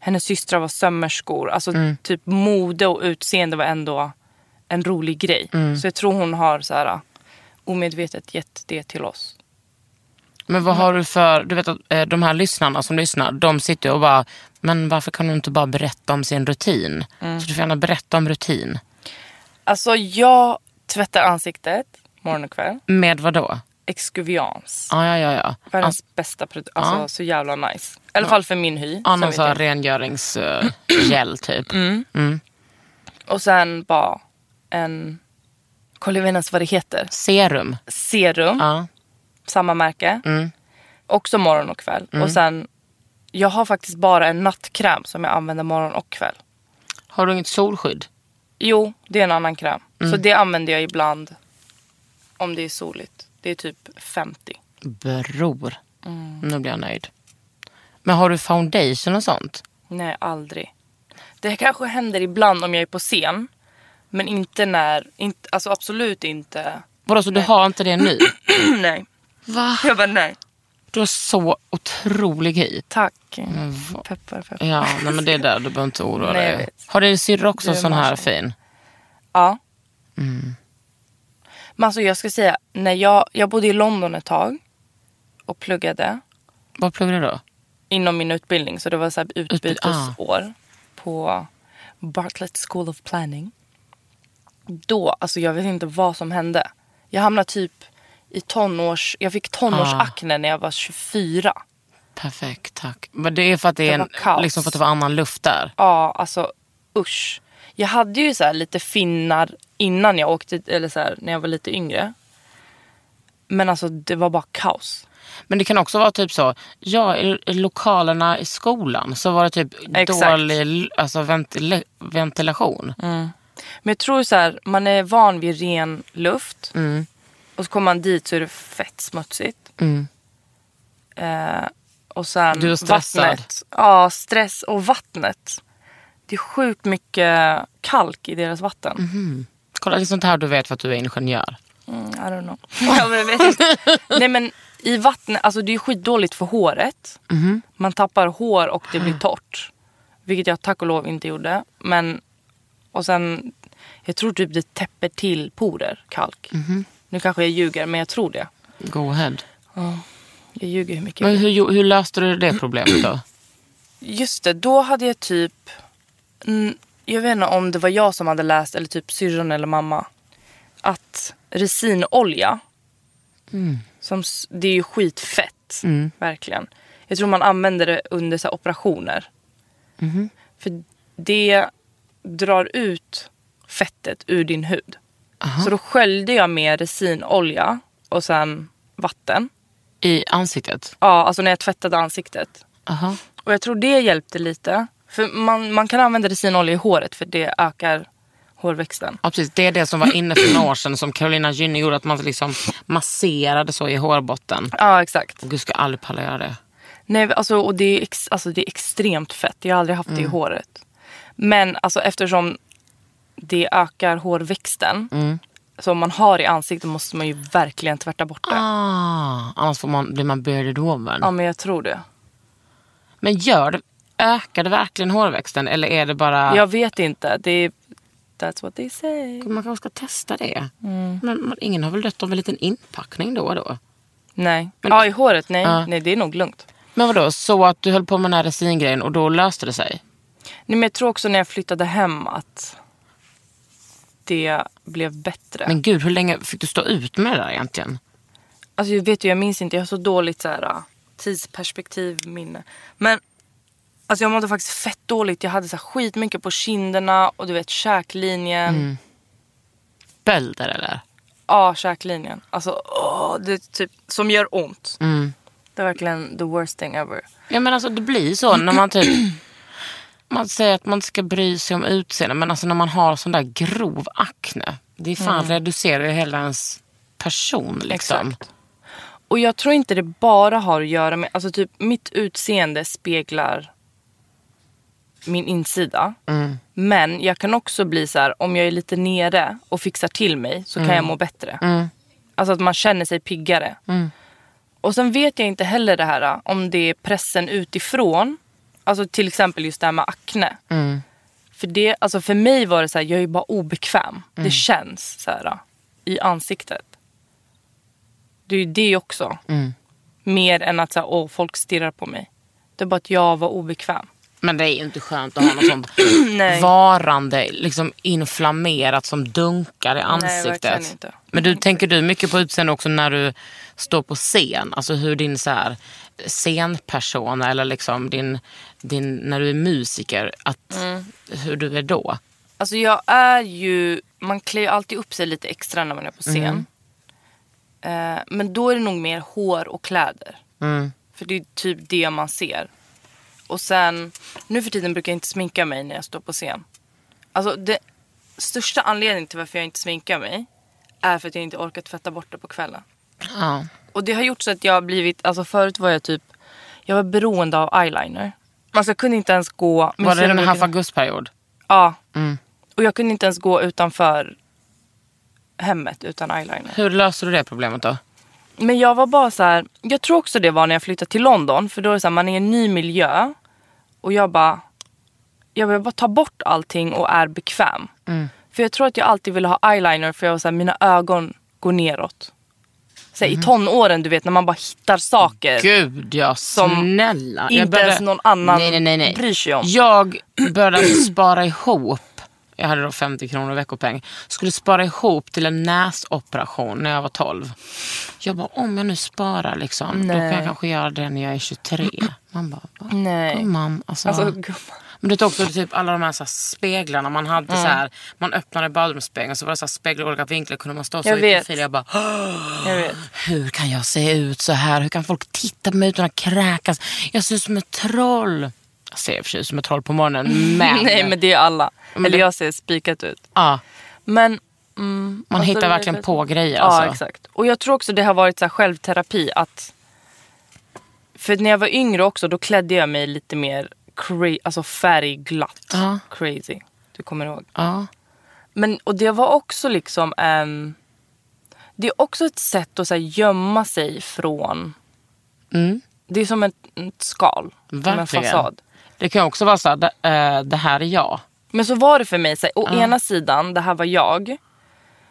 S5: hennes systrar var sömmerskor. Alltså
S4: Mm.
S5: typ mode och utseende var ändå en rolig grej.
S4: Mm.
S5: Så jag tror hon har så här omedvetet gett det till oss.
S4: Men vad har du för, du vet att eh, de här lyssnarna som lyssnar, de sitter ju och bara, men varför kan du inte bara berätta om sin rutin?
S5: Mm.
S4: Så du får gärna berätta om rutin.
S5: Alltså jag tvättar ansiktet morgon och kväll.
S4: Med vad då?
S5: Excuviance.
S4: Ah, ja, ja, ja.
S5: Världens bästa produkt. Alltså så jävla nice. I alla fall för min hy.
S4: Ah, någon
S5: Sen vet
S4: sån här
S5: jag.
S4: rengöringsgel typ.
S5: Mm. Och sen bara en... Kolla jag vet inte ens vad det heter.
S4: Serum.
S5: Serum.
S4: Ja. Mm.
S5: Samma märke. Också morgon och kväll. Och sen... Jag har faktiskt bara en nattkräm som jag använder morgon och kväll.
S4: Har du inget solskydd?
S5: Jo, det är en annan kräm. Så
S4: Mm.
S5: det använder jag ibland om det är soligt. Det är typ 50.
S4: Bror.
S5: Mm.
S4: Nu blir jag nöjd. Men har du foundation och sånt?
S5: Nej, aldrig. Det kanske händer ibland om jag är på scen. Men inte när... Inte, alltså absolut inte.
S4: Vadå, så du har inte det nu?
S5: nej.
S4: Va?
S5: Jag bara nej.
S4: Du har så otrolig hy.
S5: Tack. Peppar, peppar.
S4: Ja, nej, men det är där. Du behöver inte oroa
S5: Nej, jag
S4: dig.
S5: vet.
S4: Har din syrra också
S5: Du
S4: en
S5: är
S4: sån här
S5: varsin.
S4: fin?
S5: Ja. Men alltså jag ska säga, när jag, jag bodde i London ett tag och pluggade
S4: Vad pluggar du då?
S5: inom min utbildning. Så det var så här utbytesår på Bartlett School of Planning. Då, alltså jag vet inte vad som hände. Jag hamnade typ i tonårs... Jag fick tonårsakne när jag var 24.
S4: Perfekt, tack. Men det är för att det,
S5: Det
S4: är
S5: var kaos.
S4: en, liksom för att det var annan luft där.
S5: Ja, alltså usch. Jag hade ju så här lite finnar innan jag åkte, eller så här, när jag var lite yngre. Men alltså det var bara kaos.
S4: Men det kan också vara typ så, ja, i i lokalerna i skolan så var det typ
S5: Exakt.
S4: dålig l- alltså ventile- ventilation.
S5: Men jag tror så här, man är van vid ren luft.
S4: Mm.
S5: Och så kommer man dit så är det fett smutsigt. Eh, och sen
S4: Mm. Du är stressad.
S5: vattnet. Ja, stress och vattnet. Det är sjukt mycket kalk i deras vatten.
S4: Kolla, det är sånt här du vet för att du är ingenjör.
S5: Mm, I don't know. ja, men jag vet inte. Nej men i vattnet, alltså det är skitdåligt för håret. Man tappar hår och det blir torrt. Vilket jag tack och lov inte gjorde. Men, och sen, jag tror typ det täpper till porer, kalk. Nu kanske jag ljuger men jag tror det.
S4: Go ahead.
S5: Jag ljuger hur mycket jag
S4: Men hur, gjo- hur löste du det problemet då?
S5: Just det, då hade jag typ... Mm, jag vet inte om det var jag som hade läst, eller typ syrran eller mamma, att resinolja, som, s- det är ju skitfett, verkligen. Jag tror man använder det under så här, operationer. För det drar ut fettet ur din hud. Så då sköljde jag med resinolja och sen vatten.
S4: I ansiktet?
S5: Ja, alltså när jag tvättade ansiktet.
S4: Aha.
S5: Och jag tror det hjälpte lite. För man, man kan använda resinolja i håret för det ökar hårväxten.
S4: Ja, precis. Det är det som var inne för några år sedan som Carolina Gynning gjorde, att man liksom masserade så i hårbotten.
S5: Ja, exakt.
S4: Och Gud ska aldrig palla göra det.
S5: Nej, alltså, och det är, ex, alltså, det är extremt fett. Jag har aldrig haft det i håret. Men alltså, eftersom det ökar hårväxten som man har i ansiktet måste man ju verkligen tvätta bort det.
S4: Ah, annars får man, blir man bearded woman.
S5: Ja, men jag tror det.
S4: Men gör det, ökar det verkligen hårväxten eller är det bara...
S5: Jag vet inte. Det är, that's what they say.
S4: Man kanske ska testa det. Men man, ingen har väl dött av en liten inpackning då och då?
S5: Nej. Ja, i håret? Nej,
S4: Ja.
S5: nej det är nog lugnt.
S4: Men vadå, så att du höll på med den här resingrejen och då löste det sig?
S5: Nej, men jag tror också när jag flyttade hem att det blev bättre.
S4: Men gud, hur länge fick du stå ut med det där egentligen?
S5: Alltså jag vet du, jag minns inte. Jag har så dåligt så här, tidsperspektiv, minne. Men alltså jag mådde faktiskt fett dåligt. Jag hade så här, skitmycket på kinderna och du vet käklinjen.
S4: Mm. Bölder eller?
S5: Ja, käklinjen. Alltså, åh, det är typ som gör ont.
S4: Mm.
S5: Det är verkligen the worst thing ever.
S4: Ja men alltså det blir så när man typ Man säger att man inte ska bry sig om utseende men alltså när man har sån där grov akne. Det är fan reducerar ju hela ens person liksom.
S5: Exakt. Och jag tror inte det bara har att göra med, alltså typ mitt utseende speglar min insida. Men jag kan också bli så här, om jag är lite nere och fixar till mig så kan jag må bättre. Alltså att man känner sig piggare. Och sen vet jag inte heller det här om det är pressen utifrån. Alltså till exempel just det här med akne. För, det, alltså för mig var det så här, jag är bara obekväm. Det känns så här i ansiktet. Det är ju det också. Mer än att så här, åh, folk stirrar på mig. Det är bara att jag var obekväm.
S4: Men det är ju inte skönt att ha något sånt
S5: Nej.
S4: varande, liksom inflammerat som dunkar i ansiktet.
S5: verkligen inte.
S4: Men du, tänker du mycket på utseende också när du står på scen? Alltså hur din så här, scenpersona eller liksom din, din, när du är musiker, att,
S5: Mm.
S4: hur du är då?
S5: Alltså jag är ju, man klär ju alltid upp sig lite extra när man är på scen. Eh, men då är det nog mer hår och kläder. För det är typ det man ser. Och sen, nu för tiden brukar jag inte sminka mig när jag står på scen. Alltså det största anledningen till varför jag inte sminkar mig är för att jag inte orkar tvätta bort det på kvällen.
S4: Ja.
S5: Och det har gjort så att jag har blivit, alltså förut var jag typ, jag var beroende av eyeliner. Alltså jag kunde inte ens gå.
S4: Var det
S5: Minns du
S4: den
S5: när
S4: här Mm.
S5: jag-
S4: augustperiod?
S5: Ja. Och jag kunde inte ens gå utanför hemmet utan eyeliner.
S4: Hur löser du det problemet då?
S5: Men jag var bara så här, jag tror också det var när jag flyttade till London för då är det så här, man är i en ny miljö och jag bara, jag vill bara ta bort allting och är bekväm.
S4: Mm.
S5: För jag tror att jag alltid ville ha eyeliner för jag var så här, mina ögon går neråt. Så här,
S4: Mhm.
S5: I tonåren du vet när man bara hittar saker.
S4: Gud ja,
S5: Som
S4: snälla.
S5: inte ens någon annan
S4: nej, nej, nej, nej.
S5: bryr sig om.
S4: Jag började spara ihop, jag hade då 50 kronor i veckopeng, skulle spara ihop till en näsoperation när jag var 12. Jag bara, om jag nu sparar liksom, då kan jag kanske göra det när jag är 23. Man bara, va?
S5: Nej.
S4: Gumman, alltså.
S5: Alltså gumman.
S4: men det är också typ alla de här, så här speglarna man hade
S5: Mm.
S4: så här, man öppnade badrumsspegeln så var det så här speglar i olika vinklar, kunde man stå så
S5: Jag
S4: i
S5: vet.
S4: profil. Jag bara,
S5: Jag vet.
S4: hur kan jag se ut så här? Hur kan folk titta på mig utan att kräkas? Jag ser ut som ett troll. Jag ser i och för sig ut som ett troll på morgonen, men,
S5: Nej men det är alla.
S4: Men
S5: Eller
S4: det-
S5: jag ser spikat ut.
S4: ja,
S5: Men mm,
S4: man
S5: alltså, det
S4: hittar
S5: var
S4: verkligen
S5: lite-
S4: på grejer.
S5: Ja,
S4: Alltså.
S5: exakt. Och jag tror också det har varit så här självterapi att... För när jag var yngre också, då klädde jag mig lite mer cra- alltså färgglatt.
S4: Ja.
S5: Crazy. Du kommer ihåg.
S4: Ja.
S5: Men, och det var också liksom... ehm, det är också ett sätt att så här, gömma sig från...
S4: Mm.
S5: Det är som ett, ett skal. Som
S4: Verkligen.
S5: en fasad.
S4: Det kan också vara så här, det, eh, det här är jag.
S5: Men så var det för mig. Så här, å ena sidan, det här var jag.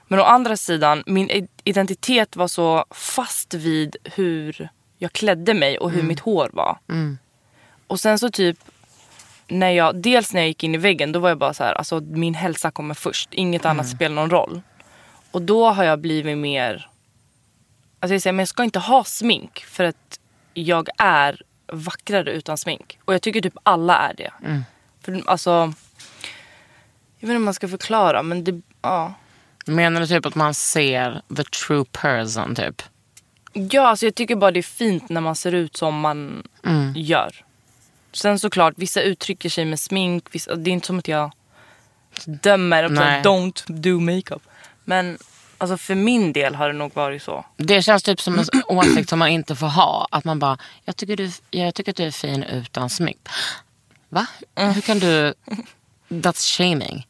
S5: Men å andra sidan, min i- identitet var så fast vid hur jag klädde mig och hur mitt hår var. Och sen så typ, när jag, dels när jag gick in i väggen, då var jag bara så här, alltså min hälsa kommer först. Inget annat spelar någon roll. Och då har jag blivit mer, alltså jag säger, men jag ska inte ha smink för att jag är vackrare utan smink. Och jag tycker typ alla är det. För alltså, jag vet inte om man ska förklara men det, ja.
S4: Menar du typ att man ser the true person typ?
S5: Ja alltså jag tycker bara det är fint när man ser ut som man gör. Sen såklart, vissa uttrycker sig med smink, vissa, det är inte som att jag dömer och
S4: Nej.
S5: säger don't do makeup. Men alltså för min del har det nog varit så.
S4: Det känns typ som en åsikt som man inte får ha. Att man bara, jag tycker, du, jag tycker att du är fin utan smink. Va?
S5: Mm.
S4: Hur kan du... That's shaming.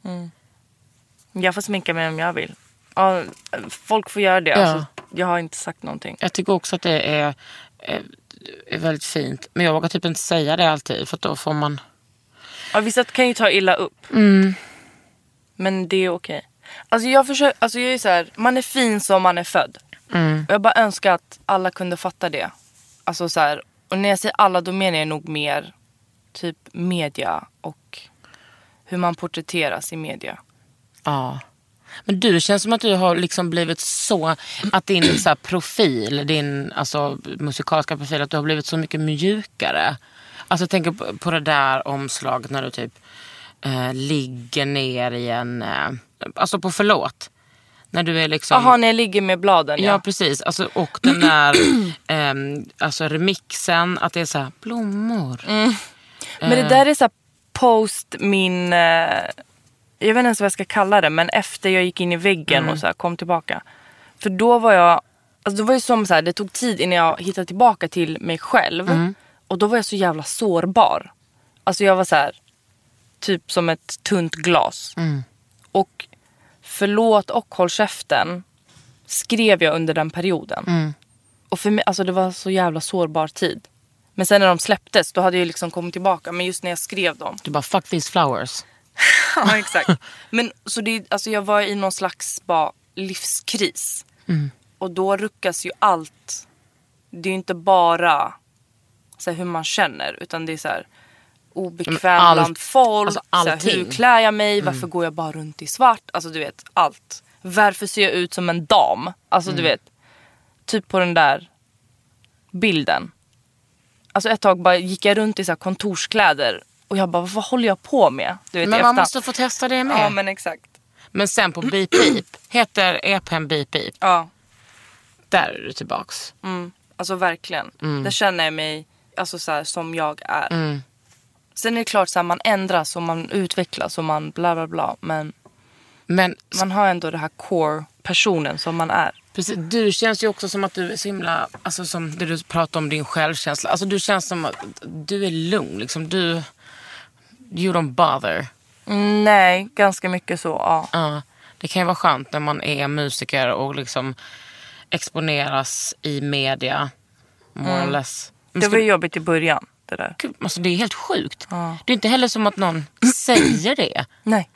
S5: Jag får sminka mig om jag vill. Ja, folk får göra det. Alltså, jag har inte sagt någonting.
S4: Jag tycker också att det är, är, är väldigt fint. Men jag vågar typ inte säga det alltid för att då får man...
S5: Ja, vissa kan ju ta illa upp. Men det är okej. Alltså jag försöker, alltså jag är så här, man är fin som man är född. Och jag bara önskar att alla kunde fatta det. Alltså så här, Och när jag säger alla då menar jag nog mer typ media och hur man porträtteras i media.
S4: Ja. Men du, det känns som att du har liksom blivit så, att din så här, profil, din alltså, musikaliska profil, att du har blivit så mycket mjukare. Alltså jag tänker på, på det där omslaget när du typ eh, ligger ner i en, eh, alltså på förlåt. När du är liksom...
S5: Jaha, när jag ligger med bladen
S4: Ja
S5: ja.
S4: precis, alltså, och den där ehm, alltså remixen, att det är så här, blommor.
S5: Men det där är så här post min, eh, jag vet inte ens vad jag ska kalla det, men efter jag gick in i väggen och så här kom tillbaka. För då var jag, alltså då var det som så här, det tog tid innan jag hittade tillbaka till mig själv. Och då var jag så jävla sårbar. Alltså jag var så här, typ som ett tunt glas. Och förlåt och håll käften skrev jag under den perioden. Och för mig, alltså det var så jävla sårbar tid. Men sen när de släpptes, då hade jag liksom kommit tillbaka. Men just när jag skrev dem.
S4: Du bara, fuck these flowers.
S5: Ja, exakt. Men så det, alltså jag var i någon slags bara livskris.
S4: Mm.
S5: Och då ruckas ju allt. Det är ju inte bara så här, hur man känner, utan det är så här obekväm
S4: Men allt-
S5: bland folk.
S4: alltså
S5: så här,
S4: allting. Mm.
S5: hur klär jag mig? Varför går jag bara runt i svart? Alltså du vet, allt. Varför ser jag ut som en dam? Alltså du
S4: Mm.
S5: vet, typ på den där bilden. Alltså ett tag bara gick jag runt i så här kontorskläder och jag bara, vad håller jag på med? Du vet,
S4: Men
S5: i
S4: man
S5: efterhand.
S4: måste få testa det med.
S5: Ja
S4: men...
S5: men exakt.
S4: sen på Beep Beep, heter EPn Beep Beep,
S5: Ja,
S4: där är du tillbaks.
S5: alltså verkligen. Där känner jag mig alltså, så här, som jag är. Sen är det klart så här, man ändras och man utvecklas och man bla bla bla. Men
S4: Men
S5: man har ändå det här core personen som man är.
S4: Precis. Du känns ju också som att du är så himla, alltså som det du pratar om din självkänsla. Alltså du känns som att du är lugn liksom. Du, you don't bother.
S5: Mm, nej, ganska mycket så. Ja.
S4: Ja. det kan ju vara skönt när man är musiker och liksom exponeras i media. More or less. Men
S5: Det
S4: ska-
S5: var ju jobbigt i början. Det där.
S4: Gud, Alltså det är helt sjukt. Det är inte heller som att någon säger det.
S5: Nej.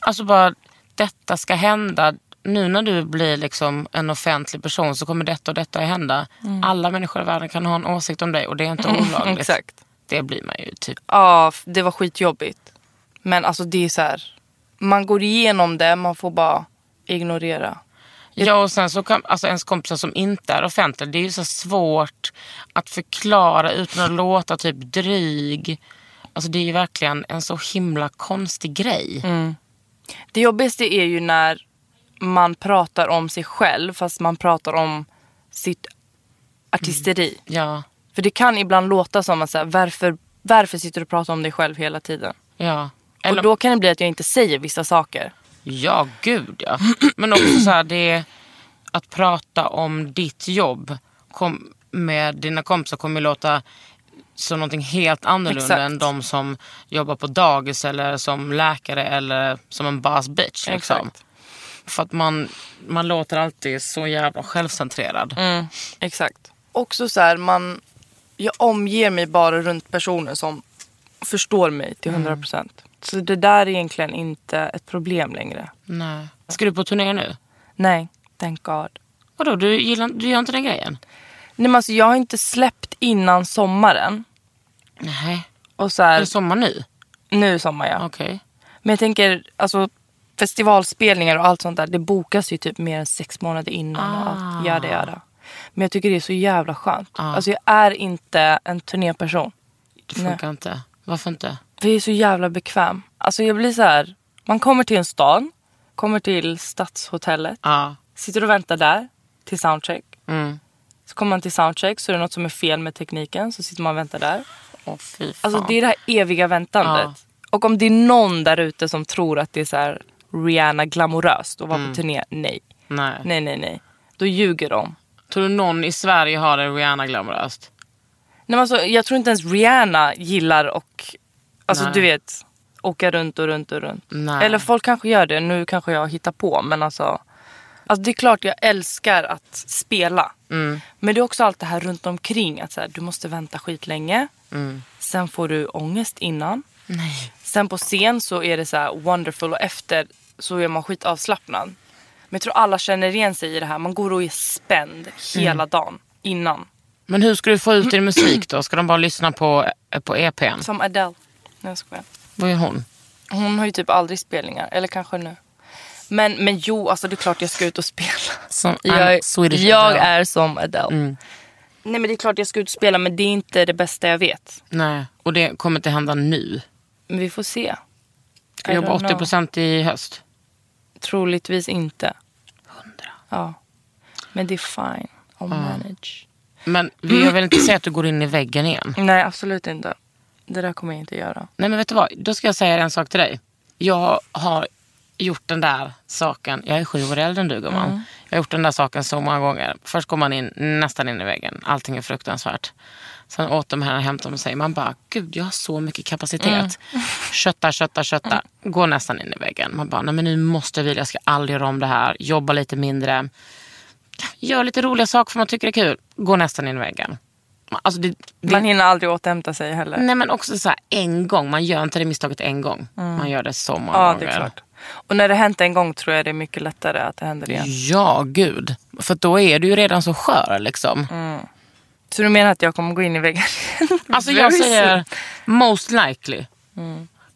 S4: Alltså bara, detta ska hända. Nu när du blir liksom en offentlig person så kommer detta och detta att hända.
S5: Mm.
S4: Alla människor i världen kan ha en åsikt om dig och det är inte olagligt.
S5: Exakt.
S4: Det blir man ju typ.
S5: Ja, f- det var skitjobbigt. Men alltså det är så här. Man går igenom det, man får bara ignorera.
S4: Ja och sen så kan, alltså ens kompisar som inte är offentliga, det är ju så svårt att förklara utan att låta typ dryg. Alltså det är ju verkligen en så himla konstig grej.
S5: Mm. Det jobbigaste är ju när man pratar om sig själv fast man pratar om sitt artisteri.
S4: Ja,
S5: För det kan ibland låta som att så här, varför, varför sitter du och pratar om dig själv hela tiden?
S4: ja. Eller,
S5: Och då kan det bli att jag inte säger vissa saker.
S4: Ja, gud ja. Men också så här, det, att prata om ditt jobb kom, med dina kompisar kommer ju låta som någonting helt annorlunda
S5: Exakt.
S4: än de som jobbar på dagis eller som läkare eller som en boss bitch. Liksom.
S5: Exakt.
S4: För att man, man låter alltid så jävla självcentrerad.
S5: Mm. Exakt. Också så här, man, jag omger mig bara runt personer som förstår mig till 100%. procent. Så det där är egentligen inte ett problem längre.
S4: Nej. Ska du på turné nu?
S5: Nej, thank God.
S4: Vadå, du, gillar, du gör inte den grejen?
S5: Nej, men alltså, jag har inte släppt innan sommaren.
S4: Nej.
S5: Och så
S4: Är
S5: här,
S4: det sommar nu?
S5: nu i sommar ja.
S4: Okej.
S5: Men jag tänker, alltså festivalspelningar och allt sånt där, det bokas ju typ mer än sex månader innan och allt. Göra det, göra. Men jag tycker det är så jävla skönt. Alltså jag är inte en turnéperson.
S4: Det funkar inte. Varför inte?
S5: För jag är så jävla bekväm. Alltså jag blir så här, man kommer till en stad, kommer till stadshotellet,
S4: Ja.
S5: sitter och väntar där till soundcheck.
S4: Mm.
S5: Så kommer man till soundcheck så är det något som är fel med tekniken så sitter man och väntar där.
S4: Åh fy fan.
S5: Alltså det är det här eviga väntandet.
S4: Ja.
S5: Och om det är någon där ute som tror att det är så här Rihanna glamoröst att vara på turné, nej.
S4: Nej.
S5: Nej, nej, nej. Då ljuger de.
S4: Tror du någon i Sverige har det Rihanna glamoröst?
S5: Nej, men alltså, jag tror inte ens Rihanna gillar och alltså
S4: Nej.
S5: du vet åka runt och runt och runt.
S4: Nej.
S5: Eller folk kanske gör det, nu kanske jag hittar på men alltså, alltså det är klart jag älskar att spela.
S4: Mm.
S5: Men det är också allt det här runt omkring att så här, du måste vänta skitlänge. Sen får du ångest innan.
S4: Mm. Nej.
S5: Sen på scen så är det så här wonderful och efter så är man skitavslappnad.
S4: Mm.
S5: Men jag tror alla känner igen sig i det här. Man går och är spänd hela dagen innan.
S4: Men hur ska du få ut din musik då? Ska de bara lyssna på, eh, på EPn?
S5: Som Adele. Nej, jag skojar.
S4: Vad är hon?
S5: Hon har ju typ aldrig spelningar. Eller kanske nu. Men, men jo, alltså det är klart jag ska ut och spela.
S4: Som
S5: Jag,
S4: I'm Swedish Mm.
S5: jag
S4: Adele.
S5: är som Adele. Nej men det är klart jag ska ut och spela men det är inte det bästa jag vet.
S4: Nej, och det kommer inte hända nu.
S5: Men vi får se.
S4: Ska
S5: I
S4: jag jobba
S5: don't know.
S4: 80 procent i höst?
S5: Troligtvis inte. Hundra. Ja. Men det är fine. I'll manage.
S4: Men jag vill inte säga att du går in i väggen igen.
S5: Nej absolut inte. Det där kommer jag inte göra.
S4: Nej men vet du vad, då ska jag säga en sak till dig. Jag har gjort den där saken, jag är sju år äldre än du gumman. Jag har gjort den där saken så många gånger. Först går man in, nästan in i väggen, allting är fruktansvärt. Sen åt de här hämtar man sig, man bara, gud jag har så mycket kapacitet. Köttar, köttar, köttar. Går nästan in i väggen. Man bara, nej men nu måste jag vila, jag ska aldrig göra om det här. Jobba lite mindre. Gör lite roliga saker för man tycker det är kul. Går nästan in i väggen. Alltså det, det,
S5: Man hinner aldrig återhämta sig heller.
S4: Nej men också så här, en gång, man gör inte det misstaget en gång. Man gör det så många
S5: Mm. Ja,
S4: gånger.
S5: det är klart. Och när det hänt en gång tror jag det är mycket lättare att det händer igen.
S4: Ja, gud. För då är du ju redan så skör liksom.
S5: Mm. Så du menar att jag kommer gå in i väggen?
S4: Alltså jag
S5: Very Mm.
S4: säger
S5: soon.
S4: most likely.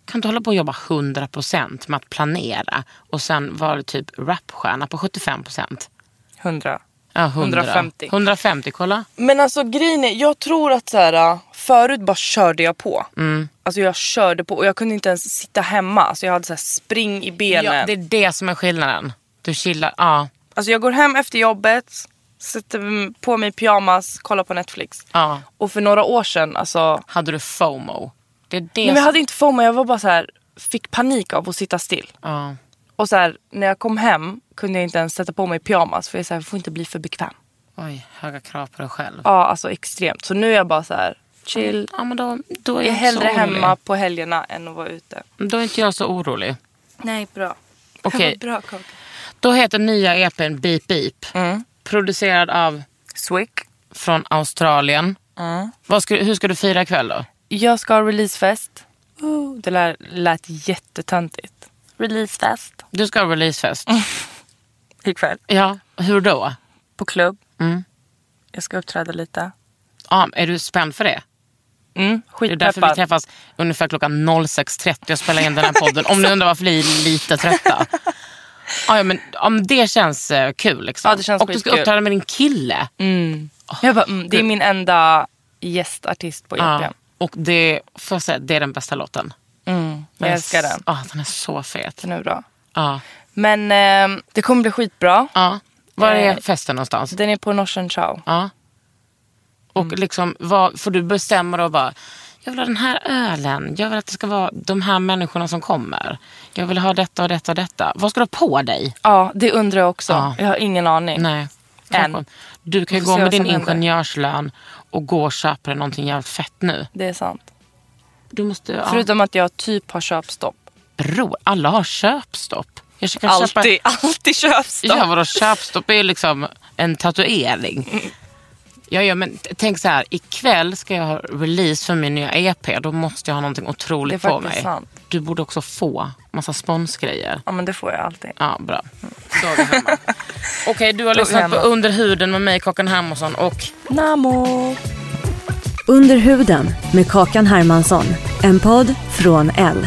S4: Kan inte hålla på och jobba 100% med att planera och sen vara typ rapstjärna på 75%?
S5: Hundra.
S4: Ja, 100.
S5: 150.
S4: 150, kolla.
S5: Men alltså grejen är, jag tror att så här, äh, förut bara körde jag på.
S4: Mm.
S5: Alltså jag körde på och jag kunde inte ens sitta hemma. Alltså jag hade så här spring i benen.
S4: Ja, det är det som är skillnaden. Du chillar, ja.
S5: Alltså jag går hem efter jobbet, sätter på mig pyjamas, kollar på Netflix.
S4: ja.
S5: Och för några år sedan, alltså.
S4: Hade du fomo? Det är det
S5: Nej, men jag
S4: som...
S5: hade inte FOMO, jag var bara så här, fick panik av att sitta still.
S4: Ja.
S5: Och så här, när jag kom hem kunde jag inte ens sätta på mig pyjamas för jag, är så här, jag får inte bli för bekväm.
S4: Oj, höga krav på dig själv.
S5: Ja, alltså extremt. Så nu är jag bara så här, chill.
S4: Ja, men då, då är
S5: Jag
S4: inte
S5: är
S4: Mm. så
S5: hellre
S4: orolig.
S5: hemma på helgerna än att vara ute.
S4: Då är inte jag så orolig.
S5: Nej, bra.
S4: Okej.
S5: Bra kaka.
S4: Då heter nya EPn Beep Beep.
S5: Mm.
S4: Producerad av
S5: Swick.
S4: från Australien.
S5: Mm.
S4: Vad ska, hur ska du fira ikväll då?
S5: Jag ska ha releasefest. Ooh, Det lär, lät jättetöntigt. Releasefest.
S4: Du ska ha releasefest.
S5: Mm. Ikväll.
S4: Ja, hur då?
S5: På klubb.
S4: Mm.
S5: Jag ska uppträda lite.
S4: Ja, är du spänd för det?
S5: Mm,
S4: Det är därför vi
S5: skitpeppad.
S4: träffas ungefär klockan 06.30 och spelar in den här podden. Om ni undrar varför vi är lite trötta. Ja, ja, men om det känns eh, kul. Liksom.
S5: Ja, det känns
S4: och du ska
S5: skitkul. Mm,
S4: uppträda med din kille.
S5: Jag bara, mm, det är min enda gästartist på E
S4: Ja,
S5: EPn.
S4: och det, får jag säga, det är den bästa låten.
S5: Mm, jag älskar den.
S4: Ja, Ah, den är så fet.
S5: Den är bra.
S4: Ja.
S5: Men ehm, det kommer bli skitbra.
S4: Ja. Var
S5: Eh,
S4: är festen någonstans?
S5: Den är på Norsen Chow.
S4: Ja. Och
S5: Mm.
S4: liksom, vad, får du bestämma då bara, jag vill ha den här ölen, jag vill att det ska vara de här människorna som kommer. Jag vill ha detta och detta och detta. Vad ska du ha på dig?
S5: Ja, det undrar jag också.
S4: Ja.
S5: Jag har ingen aning.
S4: Nej.
S5: Än.
S4: Kanske. Du kan
S5: Vi
S4: ju
S5: får
S4: gå
S5: se
S4: med
S5: vad
S4: din
S5: som händer.
S4: ingenjörslön och gå och köpa dig någonting jävligt fett nu.
S5: Det är sant.
S4: Du måste, ja.
S5: Förutom att jag typ har köpstopp.
S4: Bror, alla har köpstopp. Jag ska köpa...
S5: Alltid, alltid köpstopp.
S4: Ja, vadå köpstopp är ju liksom en tatuering. Ja, ja, men t- tänk så här, ikväll ska jag ha release för min nya EP. Då måste jag ha någonting otroligt
S5: Det är
S4: på
S5: faktiskt
S4: mig.
S5: sant.
S4: Du borde också få massa sponsgrejer.
S5: Ja men det får jag alltid.
S4: Ja, bra. Då är vi hemma. Okej, du har
S5: Då är vi
S4: lyssnat på
S5: hemma.
S4: Under huden med mig, Kakan Hermansson och
S5: Namo!
S6: Under huden med Kakan Hermansson. En podd från L.